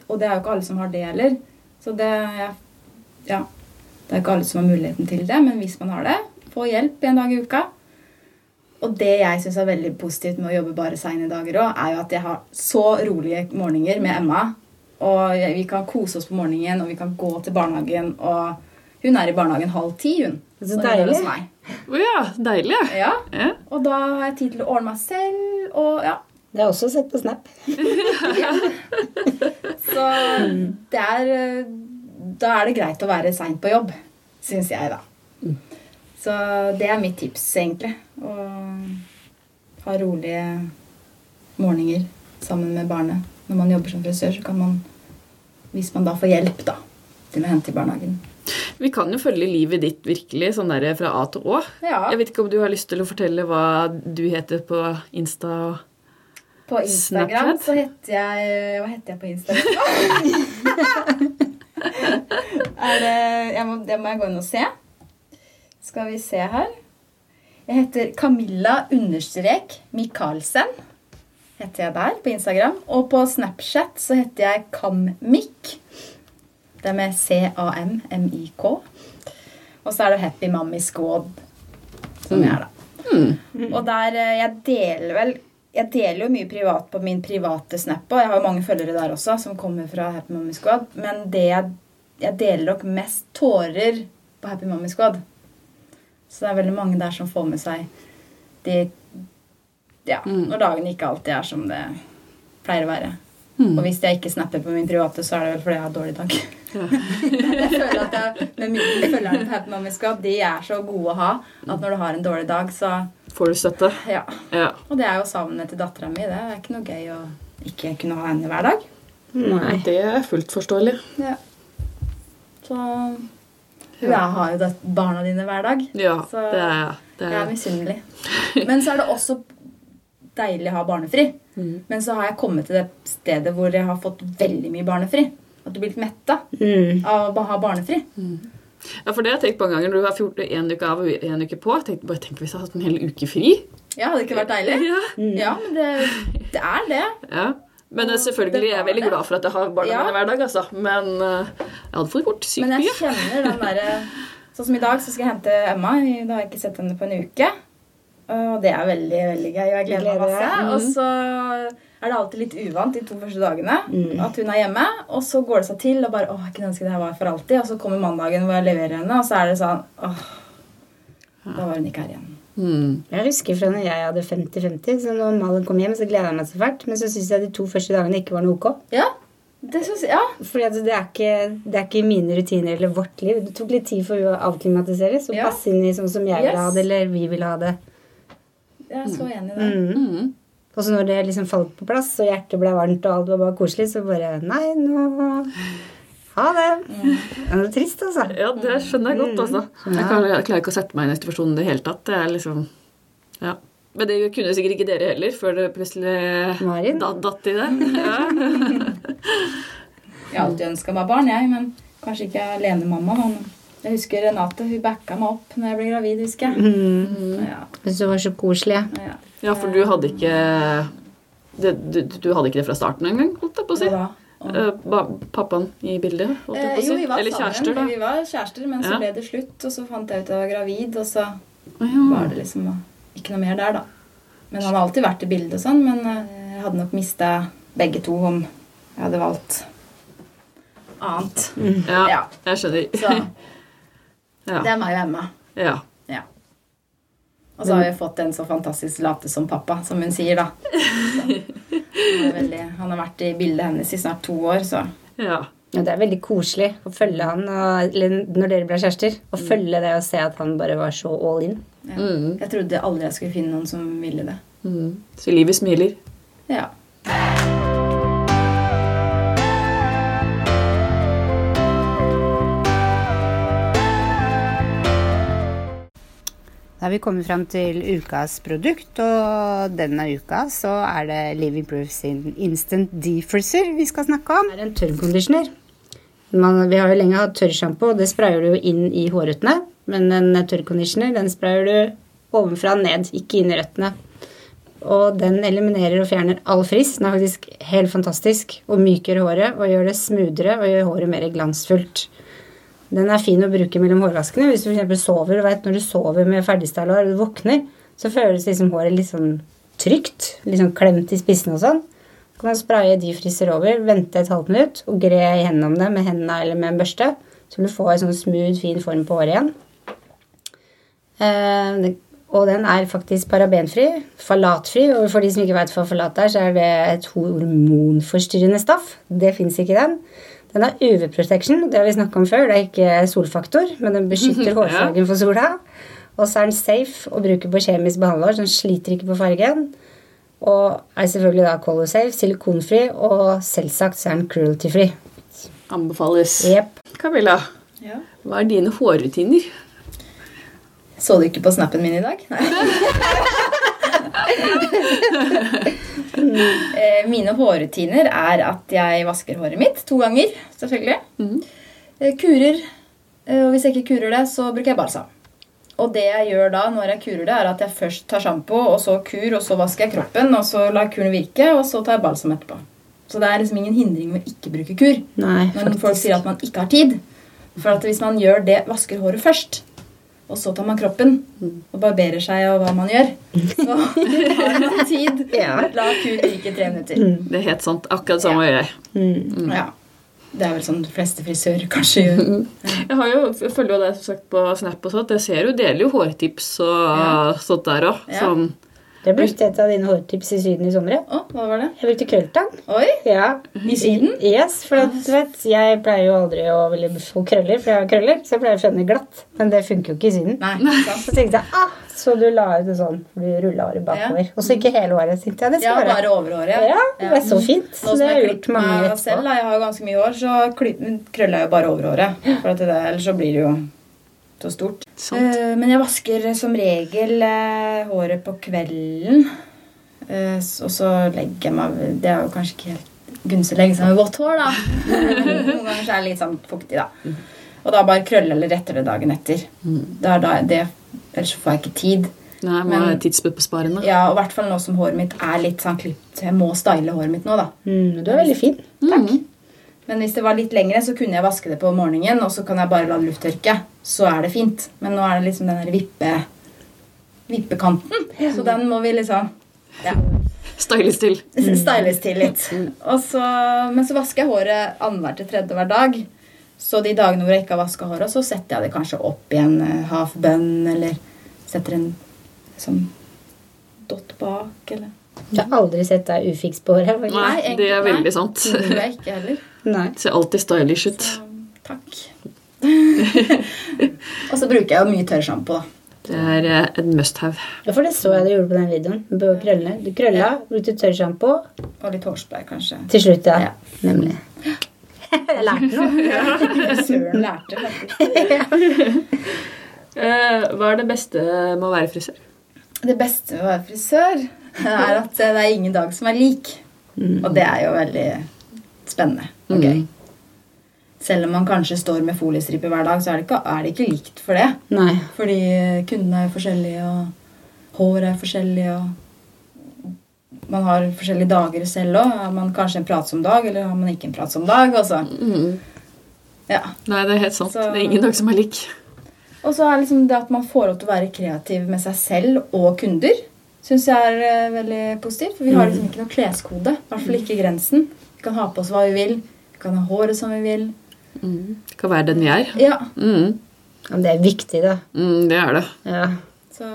[SPEAKER 3] og det er jo ikke alle som har det heller. Så det er, ja, det er ikke alle som har muligheten til det, men hvis man har det, få hjelp en dag i uka. Og det jeg syns er veldig positivt med å jobbe bare seine dager òg, er jo at jeg har så rolige morgener med Emma. Og jeg- vi kan kose oss på morgenen, og vi kan gå til barnehagen, og hun er i barnehagen halv ti, hun.
[SPEAKER 1] Så
[SPEAKER 3] når hun er hos
[SPEAKER 1] deilig.
[SPEAKER 3] meg.
[SPEAKER 2] Å ja, deilig.
[SPEAKER 3] Ja,
[SPEAKER 2] Ja.
[SPEAKER 3] og da har jeg tid til å ordne meg selv, og ja,
[SPEAKER 1] Det er også sett på Snap.
[SPEAKER 3] Så det er eh, Da er det greit å være seint på jobb, syns jeg, da. Så det er mitt tips, egentlig. Å ha rolige morgener sammen med barnet. Når man jobber som frisør, så kan man Hvis man da får hjelp, da, til å hente i barnehagen.
[SPEAKER 2] Vi kan jo følge livet ditt virkelig sånn der fra A til Å.
[SPEAKER 3] Ja.
[SPEAKER 2] Jeg vet ikke om du har lyst til å fortelle hva du heter på Insta?
[SPEAKER 3] På Instagram
[SPEAKER 2] Snapchat?
[SPEAKER 3] så heter jeg eh, Hva heter jeg på Instagram? er det, jeg må, det må jeg gå inn og se. Skal vi se her. Jeg heter Camilla understrek Michaelsen. Heter jeg der på Instagram. Og på Snapchat så heter jeg Kammik. Det er med C-A-M-M-I-K. Og så er det Happy Mommy Squad, som jeg er, da. Og der eh, Jeg deler vel Jeg deler jo mye privat på min private snap og jeg har jo mange følgere der også som kommer fra Happy Mommy Squad, men det jeg, jeg deler nok mest tårer på Happy Mommy Squad. Så det er veldig mange der som får med seg de Ja, når dagene ikke alltid er som det pleier å være.
[SPEAKER 2] Hmm. Mm.
[SPEAKER 3] Og hvis jeg ikke snapper på min private, så er det vel fordi jeg har dårlig dag. jeg føler at jeg, med mine følgerne på Happy Mommy Squad, de er så gode å ha at når du har en dårlig dag, så
[SPEAKER 2] Får du støtte?
[SPEAKER 3] ja.
[SPEAKER 2] Ja.
[SPEAKER 3] Og det er jo savnet til dattera mi. Det er ikke noe gøy å ikke kunne ha henne hver dag.
[SPEAKER 1] Nei.
[SPEAKER 2] Det er fullt forståelig.
[SPEAKER 3] Så hun er, har jo dødt barna dine hver dag.
[SPEAKER 2] Ja,
[SPEAKER 3] så
[SPEAKER 2] det er, det
[SPEAKER 3] jeg er
[SPEAKER 2] er.
[SPEAKER 3] misunnelig. Men så er det også deilig å ha barnefri.
[SPEAKER 2] Mm.
[SPEAKER 3] Men så har jeg kommet til det stedet hvor jeg har fått veldig mye barnefri. At du blir litt metta
[SPEAKER 1] Mm.
[SPEAKER 3] av å bare ha barnefri.
[SPEAKER 2] Ja, for det har jeg tenkt mange ganger når du har 14, en uke av og en uke på. Jeg tenkte bare, tenk hvis jeg hadde hatt en hel uke fri.
[SPEAKER 3] Ja, hadde ikke vært deilig?
[SPEAKER 2] Ja.
[SPEAKER 3] Ja, men det, det er det.
[SPEAKER 2] Ja. Men eh, selvfølgelig, jeg er veldig glad for at jeg har barna
[SPEAKER 3] Ja.
[SPEAKER 2] mine hver dag, altså. Men eh, jeg hadde fått gjort sykt
[SPEAKER 3] Men jeg
[SPEAKER 2] mye.
[SPEAKER 3] kjenner den derre Sånn som i dag, så skal jeg hente Emma. Da har jeg ikke sett henne på en uke. Og det er veldig veldig gøy. og Jeg gleder meg
[SPEAKER 1] Gleder deg.
[SPEAKER 3] masse. Og så er det alltid litt uvant de to første dagene
[SPEAKER 1] Mm.
[SPEAKER 3] at hun er hjemme. Og så går det seg til, og bare åh, jeg kunne ønske det her var for alltid. Og så kommer mandagen hvor jeg leverer henne, og så er det sånn åh, Da var hun ikke her igjen.
[SPEAKER 2] Mm.
[SPEAKER 1] Jeg husker fra når jeg hadde 50-50, så når Malen kom hjem, så gleda jeg meg så fælt. Men så syns jeg de to første dagene ikke var noe ok.
[SPEAKER 3] Ja, det synes jeg, ja.
[SPEAKER 1] Fordi at det, er ikke, det er ikke mine rutiner eller vårt liv. Det tok litt tid for henne å avklimatiseres og
[SPEAKER 3] Ja.
[SPEAKER 1] passe inn i sånn som jeg ville ha det,
[SPEAKER 3] Yes.
[SPEAKER 1] eller vi ville ha det.
[SPEAKER 3] Jeg er så enig i det.
[SPEAKER 1] Mm.
[SPEAKER 2] Mm.
[SPEAKER 1] Og så når det liksom falt på plass, og hjertet ble varmt, og alt var bare koselig, så bare Nei, nå Ha det. Det er trist, altså.
[SPEAKER 2] Ja, det skjønner jeg godt, altså. Jeg, kan, jeg klarer ikke å sette meg inn i situasjonen i det hele tatt. Det er liksom, ja. Men det kunne sikkert ikke dere heller, før det plutselig
[SPEAKER 1] Marin?
[SPEAKER 2] da, datt i det. Ja.
[SPEAKER 3] Jeg har alltid ønska meg barn, jeg, men kanskje ikke alenemamma. da, men Jeg husker Renate hun backa meg opp når jeg ble gravid, husker jeg.
[SPEAKER 1] Mm.
[SPEAKER 3] Ja,
[SPEAKER 1] Jeg syns det var så koselig.
[SPEAKER 3] ja.
[SPEAKER 2] ja, for du hadde ikke det, du, du hadde ikke det fra starten engang, holdt jeg på å si.
[SPEAKER 3] Hva da? Om-
[SPEAKER 2] Eh, ba- Pappaen i bildet, holdt jeg
[SPEAKER 3] Eh,
[SPEAKER 2] på å si.
[SPEAKER 3] jo, vi var
[SPEAKER 2] Eller
[SPEAKER 3] sammen.
[SPEAKER 2] kjærester, da.
[SPEAKER 3] Vi var kjærester, men
[SPEAKER 2] Ja.
[SPEAKER 3] så ble det slutt, og så fant jeg ut at jeg var gravid, og så
[SPEAKER 2] Å, ja.
[SPEAKER 3] var det liksom ikke noe mer der, da. Men han har alltid vært i bildet og sånn, men eh, jeg hadde nok mista begge to om jeg hadde valgt annet.
[SPEAKER 2] Ja,
[SPEAKER 3] Ja.
[SPEAKER 2] jeg
[SPEAKER 3] Så
[SPEAKER 2] skjønner. Ja.
[SPEAKER 3] det er meg og Emma.
[SPEAKER 2] ja.
[SPEAKER 3] Ja. Og så har vi fått en så fantastisk late som pappa, som hun sier, da. Så, han, er veldig, han har vært i bildet hennes i snart to år, så
[SPEAKER 2] ja.
[SPEAKER 1] Ja, det er veldig koselig å følge han og, eller når dere ble kjærester. Å følge det og se at han bare var så all in.
[SPEAKER 3] Ja.
[SPEAKER 2] Mm.
[SPEAKER 3] Jeg trodde aldri jeg skulle finne noen som ville det.
[SPEAKER 2] Mm. Så livet smiler.
[SPEAKER 3] Ja.
[SPEAKER 1] Da har vi kommet fram til ukas produkt, og denne uka så er det Living Proof sin Instant Defrozer vi skal snakke om. Det er en tørrkonditioner. Man, vi har jo lenge hatt tørrsjampo, og det sprayer du jo inn i hårrøttene. Men en tørrkonditioner den sprayer du ovenfra og ned, ikke inn i røttene. Og den eliminerer og fjerner all frist. Den er faktisk helt fantastisk og myker håret og gjør det smoothere og gjør håret mer glansfullt. Den er fin å bruke mellom hårvaskene. Hvis du for eksempel sover, du vet når du sover med ferdigstyla hår og du våkner, så føles liksom håret litt sånn trygt. Litt sånn klemt i spissene og sånn. Så kan man spraye de friser over, vente et halvt minutt og gre gjennom det med hendene eller med en børste. Så vil du få en sånn smooth, fin form på håret igjen. Eh, det- og den er faktisk parabenfri, falatfri. Og for de som ikke veit hva falat er, så er det et hormonforstyrrende stoff. Det fins ikke i den. Den har UV-protection, det har vi snakka om før. Det er ikke solfaktor, men den beskytter hårfargen for sola. Og så er den safe å bruke på kjemisk behandler, så den sliter ikke på fargen. Og er selvfølgelig da color safe, silikonfri, og selvsagt så er den cruelty-free.
[SPEAKER 2] Anbefales.
[SPEAKER 1] Jepp.
[SPEAKER 2] Camilla,
[SPEAKER 3] ja.
[SPEAKER 2] hva er dine hårrutiner?
[SPEAKER 3] Så du ikke på snappen min i dag? Nei. Eh, Mine hårrutiner er at jeg vasker håret mitt to ganger, selvfølgelig. Eh, Kurer. eh, Og hvis jeg ikke kurer det, så bruker jeg balsam. Og det jeg gjør da når jeg kurer det, er at jeg først tar sjampo, og så kur, og så vasker jeg kroppen, og så lar kuren virke, og så tar jeg balsam etterpå. Så det er liksom ingen hindring med å ikke bruke kur.
[SPEAKER 1] Nei,
[SPEAKER 3] Når folk sier at man ikke har tid. For at hvis man gjør det, vasker håret først, og så tar man kroppen og barberer seg og hva man gjør, så har man tid.
[SPEAKER 1] Ja.
[SPEAKER 3] La kuren virke tre minutter.
[SPEAKER 2] Det er helt sant. Akkurat samme gjør jeg.
[SPEAKER 1] Mm. Mm.
[SPEAKER 3] Ja. Det er vel sånn de fleste frisører kanskje gjør.
[SPEAKER 2] Jeg, har jo, jeg følger jo deg som sagt på Snap og sånt. Jeg ser jo deler jo hårtips og sånt der òg.
[SPEAKER 3] Ja.
[SPEAKER 2] Sånn.
[SPEAKER 1] Det brukte et av dine hårtips i Syden i sommer. ja.
[SPEAKER 3] Å, hva var det?
[SPEAKER 1] Jeg brukte krølltang.
[SPEAKER 3] Oi!
[SPEAKER 1] Ja.
[SPEAKER 3] I Ah. Syden?
[SPEAKER 1] Yes, for at, du vet, jeg pleier jo aldri å ville få krøller, for jeg har krøller, så jeg pleier å fjerne glatt. Men det funker jo ikke i Syden.
[SPEAKER 3] Nei, ikke sant?
[SPEAKER 1] Så tenkte jeg, ah, så du la ut en sånn, for du rulla håret bakover. Og så ikke hele håret, tenkte jeg. Det
[SPEAKER 3] Ja,
[SPEAKER 1] skal
[SPEAKER 3] bare
[SPEAKER 1] være.
[SPEAKER 3] overhåret.
[SPEAKER 1] Ja, det er så fint.
[SPEAKER 3] Nå
[SPEAKER 1] Så
[SPEAKER 3] som
[SPEAKER 1] det har
[SPEAKER 3] jeg
[SPEAKER 1] jeg gjort
[SPEAKER 3] klipper
[SPEAKER 1] mange
[SPEAKER 3] meg
[SPEAKER 1] ganger
[SPEAKER 3] selv,
[SPEAKER 1] etterpå.
[SPEAKER 3] da, jeg har ganske mye hår, så kly- krøller jeg jo bare overhåret. For at det der, ellers så blir det jo så stort.
[SPEAKER 2] Sant.
[SPEAKER 3] Eh, men jeg vasker som regel eh, håret på kvelden. Eh, s- og så legger jeg meg Det er jo kanskje ikke helt gunstig å legge seg med vått hår, da. Men Noen ganger så er det litt sånn fuktig, da. Og da bare krølle eller retter det dagen etter. Det er da det, ellers så får jeg ikke tid.
[SPEAKER 2] Nei, man
[SPEAKER 3] Men-
[SPEAKER 2] er tidsbesparende.
[SPEAKER 3] Ja, og i hvert fall nå som håret mitt er litt sånn klipt. så Jeg må style håret mitt nå, da.
[SPEAKER 1] Mm, du er veldig fin.
[SPEAKER 3] Takk.
[SPEAKER 2] Mm.
[SPEAKER 3] Men hvis det var litt lengre, så kunne jeg vaske det på morgenen, og så kan jeg bare la det lufttørke. Så er det fint. Men nå er det liksom den der vippe, vippekanten. Så den må vi liksom ja,
[SPEAKER 2] Styles til.
[SPEAKER 3] styles til litt. Og så, men så vasker jeg håret annenhver til tredje hver dag. Så de dagene hvor jeg ikke har vaska håret, så setter jeg det kanskje opp i en eh, half bun, eller setter en sånn dott bak, eller
[SPEAKER 1] Jeg har aldri sett deg ufiks på håret. faktisk.
[SPEAKER 2] Nei,
[SPEAKER 3] egentlig-
[SPEAKER 2] det er
[SPEAKER 3] Mm. nei.
[SPEAKER 2] veldig sant.
[SPEAKER 3] Det gjør jeg ikke heller.
[SPEAKER 1] Nei.
[SPEAKER 2] Ser alltid stylish ut.
[SPEAKER 3] Takk. og så bruker jeg jo mye tørrsjampo, da.
[SPEAKER 2] Det er eh, en must-have.
[SPEAKER 1] Ja, For det så jeg dere gjorde på den videoen. På krøllene. Du krølla, brukte tørrsjampo.
[SPEAKER 3] Og litt hårspray, kanskje.
[SPEAKER 1] Til slutt, ja.
[SPEAKER 3] Ja.
[SPEAKER 1] Nemlig. Jeg lærte noe.
[SPEAKER 3] Søren lærte faktisk.
[SPEAKER 2] Eh, hva er det beste med å være frisør?
[SPEAKER 3] Det beste med å være frisør er at det er ingen dag som er lik. Og det er jo veldig spennende og gøy.
[SPEAKER 2] Mm.
[SPEAKER 3] Selv om man kanskje står med foliestriper hver dag, så er det ikke, er det ikke likt for det.
[SPEAKER 1] Nei.
[SPEAKER 3] Fordi kundene er jo forskjellige, og håret er forskjellig, og man har forskjellige dager selv òg. Har man kanskje en pratsom dag, eller har man ikke en pratsom dag? Og så, ja.
[SPEAKER 2] Mm. Nei, det er helt sant.
[SPEAKER 3] Så-
[SPEAKER 2] Det er ingen dag som er lik.
[SPEAKER 3] og så er liksom det at man får lov til å være kreativ med seg selv og kunder, syns jeg er eh, veldig positivt. For vi har liksom ikke noe kleskode. I hvert fall ikke grensen. Vi kan ha på oss hva vi vil. Vi kan ha håret som vi vil.
[SPEAKER 2] Det kan være den vi er.
[SPEAKER 3] Ja,
[SPEAKER 2] Mm.
[SPEAKER 1] Men det er viktig, da.
[SPEAKER 2] Mm, det er det.
[SPEAKER 1] Ja.
[SPEAKER 3] Så,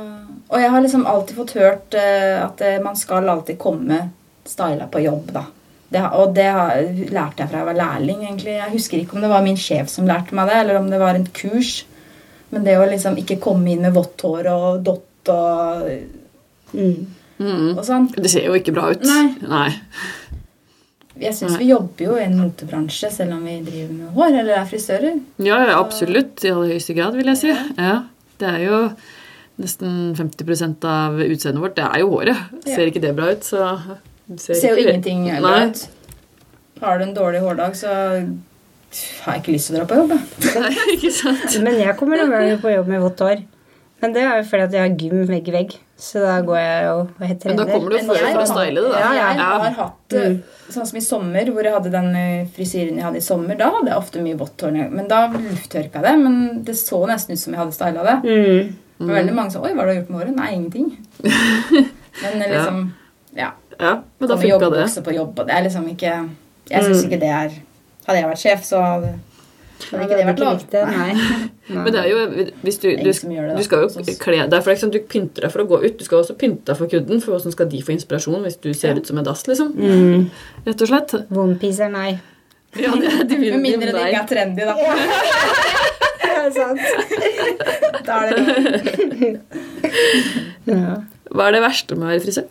[SPEAKER 3] og jeg har liksom alltid fått hørt eh, at eh, man skal alltid komme styla på jobb, da. Det, har- og det har- lærte jeg fra jeg var lærling, egentlig. Jeg husker ikke om det var min sjef som lærte meg det, eller om det var en kurs. Men det å liksom ikke komme inn med vått hår og dott godt og,
[SPEAKER 1] Mm.
[SPEAKER 2] Mm.
[SPEAKER 3] og sånn.
[SPEAKER 2] Det ser jo ikke bra ut.
[SPEAKER 3] Nei.
[SPEAKER 2] Nei.
[SPEAKER 3] Jeg syns vi jobber jo i en motebransje selv om vi driver med hår eller er frisører.
[SPEAKER 2] Ja, ja, absolutt. I aller høyeste grad, vil jeg si. Ja. Det er jo nesten 50 av utseendet vårt. Det er jo håret.
[SPEAKER 3] Ja.
[SPEAKER 2] Ser ikke det bra ut, så
[SPEAKER 3] Det ser
[SPEAKER 2] ikke
[SPEAKER 3] jo
[SPEAKER 2] det-
[SPEAKER 3] ingenting bra
[SPEAKER 2] Nei.
[SPEAKER 3] ut. Har du en dårlig hårdag, så har jeg ikke lyst til å dra på jobb. jeg.
[SPEAKER 2] Nei, ikke sant?
[SPEAKER 1] Men jeg kommer noen ganger på jobb med vått hår. Men det er jo fordi at jeg har gym vegg i vegg. Så da går jeg jo og jeg
[SPEAKER 2] Men da
[SPEAKER 1] trener. Mm.
[SPEAKER 2] kommer du for
[SPEAKER 3] jeg
[SPEAKER 2] for å
[SPEAKER 3] har-
[SPEAKER 2] style det, da.
[SPEAKER 3] Ja, jeg
[SPEAKER 2] Ja. Mm.
[SPEAKER 3] har hatt eh, Sånn som i sommer, hvor jeg hadde den eh, frisyren jeg hadde i sommer, da hadde jeg ofte mye vått hår. Men da lufttørka jeg det. Men det så nesten ut som jeg hadde styla det.
[SPEAKER 1] Mm.
[SPEAKER 3] Det var veldig mange som Oi, hva har du gjort med håret? Nei, ingenting. Men eh, liksom Ja.
[SPEAKER 2] ja, men da
[SPEAKER 3] Kommer
[SPEAKER 2] funka det. Mm.
[SPEAKER 3] joggebukse på jobb, og det er liksom ikke Jeg syns ikke det er Hadde jeg vært sjef, så hadde, hadde ikke det vært lov.
[SPEAKER 1] likt det, nei.
[SPEAKER 2] Men det er jo hvis du,
[SPEAKER 3] ingen
[SPEAKER 2] du,
[SPEAKER 3] som gjør det, da.
[SPEAKER 2] du skal jo
[SPEAKER 3] Sånn.
[SPEAKER 2] kle deg for eksempel, Du pynter deg for å gå ut. Du skal også pynte deg for kunden, for hvordan skal de få inspirasjon hvis du ser ut som en dass, liksom?
[SPEAKER 1] Mm.
[SPEAKER 2] Rett og slett.
[SPEAKER 1] Onepiece er nei.
[SPEAKER 2] Ja, det, de vil-
[SPEAKER 3] Med mindre
[SPEAKER 2] de-
[SPEAKER 3] det
[SPEAKER 2] nei.
[SPEAKER 3] ikke er trendy, da.
[SPEAKER 1] Det er sant.
[SPEAKER 3] da er det
[SPEAKER 1] Ja.
[SPEAKER 2] Hva er det verste med å være frisør?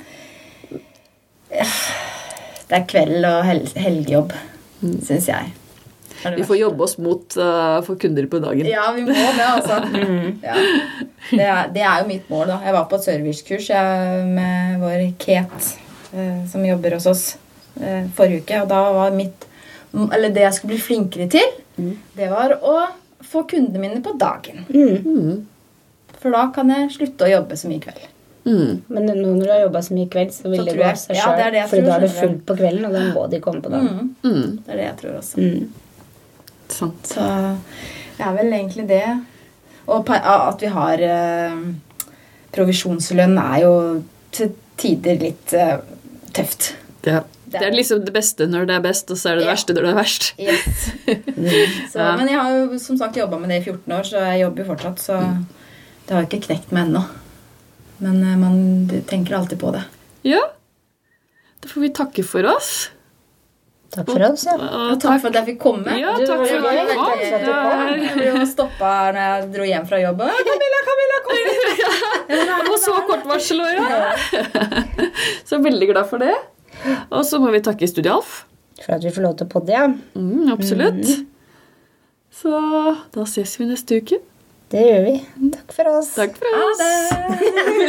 [SPEAKER 3] Det er kveld og hel helgejobb, syns jeg. Er det
[SPEAKER 2] Vi får jobbe oss mot uh, for kunder på dagen.
[SPEAKER 3] verst? Ja, vi må det, altså. Ja. Det, er, det er jo mitt mål, da. Jeg var på et servicekurs jeg, med vår Kate, eh, som jobber hos oss, eh, forrige uke. Og da var mitt Eller det jeg skulle bli flinkere til, det var å få kundene mine på dagen.
[SPEAKER 1] Mm.
[SPEAKER 2] Mm.
[SPEAKER 3] For da kan jeg slutte å jobbe så mye i kveld.
[SPEAKER 2] Mm.
[SPEAKER 1] Men nå når du har jobba så mye i kveld, så vil
[SPEAKER 3] Så
[SPEAKER 1] det
[SPEAKER 3] tror
[SPEAKER 1] gå
[SPEAKER 3] jeg-
[SPEAKER 1] av seg
[SPEAKER 3] ja, det er
[SPEAKER 1] sjøl.
[SPEAKER 3] det jeg
[SPEAKER 1] for
[SPEAKER 3] tror,
[SPEAKER 1] da er du
[SPEAKER 3] skjønner
[SPEAKER 1] full på kvelden, og da må de komme på dagen.
[SPEAKER 3] Mm.
[SPEAKER 2] Mm. Sånn.
[SPEAKER 3] Det er det jeg tror også.
[SPEAKER 1] Mm.
[SPEAKER 2] Sant.
[SPEAKER 3] Så det er vel egentlig det. Og pa- at vi har eh, provisjonslønn er jo til tider litt eh, tøft.
[SPEAKER 2] Det, det er liksom det beste når det er best, og så er det det
[SPEAKER 3] Ja.
[SPEAKER 2] verste når det er verst.
[SPEAKER 3] Yes.
[SPEAKER 1] Mm.
[SPEAKER 3] så,
[SPEAKER 2] Ja.
[SPEAKER 3] Men jeg har jo som sagt jobba med det i 14 år, så jeg jobber jo fortsatt. Så
[SPEAKER 2] Mm.
[SPEAKER 3] det har jo ikke knekt meg ennå. Men eh, man tenker alltid på det.
[SPEAKER 2] Ja. Da får vi takke for oss.
[SPEAKER 1] Takk for oss, ja.
[SPEAKER 2] Og
[SPEAKER 3] Og takk for at jeg fikk komme.
[SPEAKER 2] Ja,
[SPEAKER 1] Du,
[SPEAKER 2] takk
[SPEAKER 1] det
[SPEAKER 2] for
[SPEAKER 1] var
[SPEAKER 2] at du
[SPEAKER 1] veldig
[SPEAKER 2] kom.
[SPEAKER 1] hyggelig at du
[SPEAKER 2] Det
[SPEAKER 3] Jeg ble jo stoppa når jeg dro hjem fra jobb. «Å, Camilla, Camilla, kom hit!»
[SPEAKER 2] er- På så kort varsel òg, ja. Så jeg er veldig glad for det. Og så må vi takke Studio Alf.
[SPEAKER 1] For at vi får lov til å podde, ja.
[SPEAKER 2] Mm, absolutt. Så da ses vi neste uke.
[SPEAKER 1] Det gjør vi. Takk for oss.
[SPEAKER 2] Takk for oss.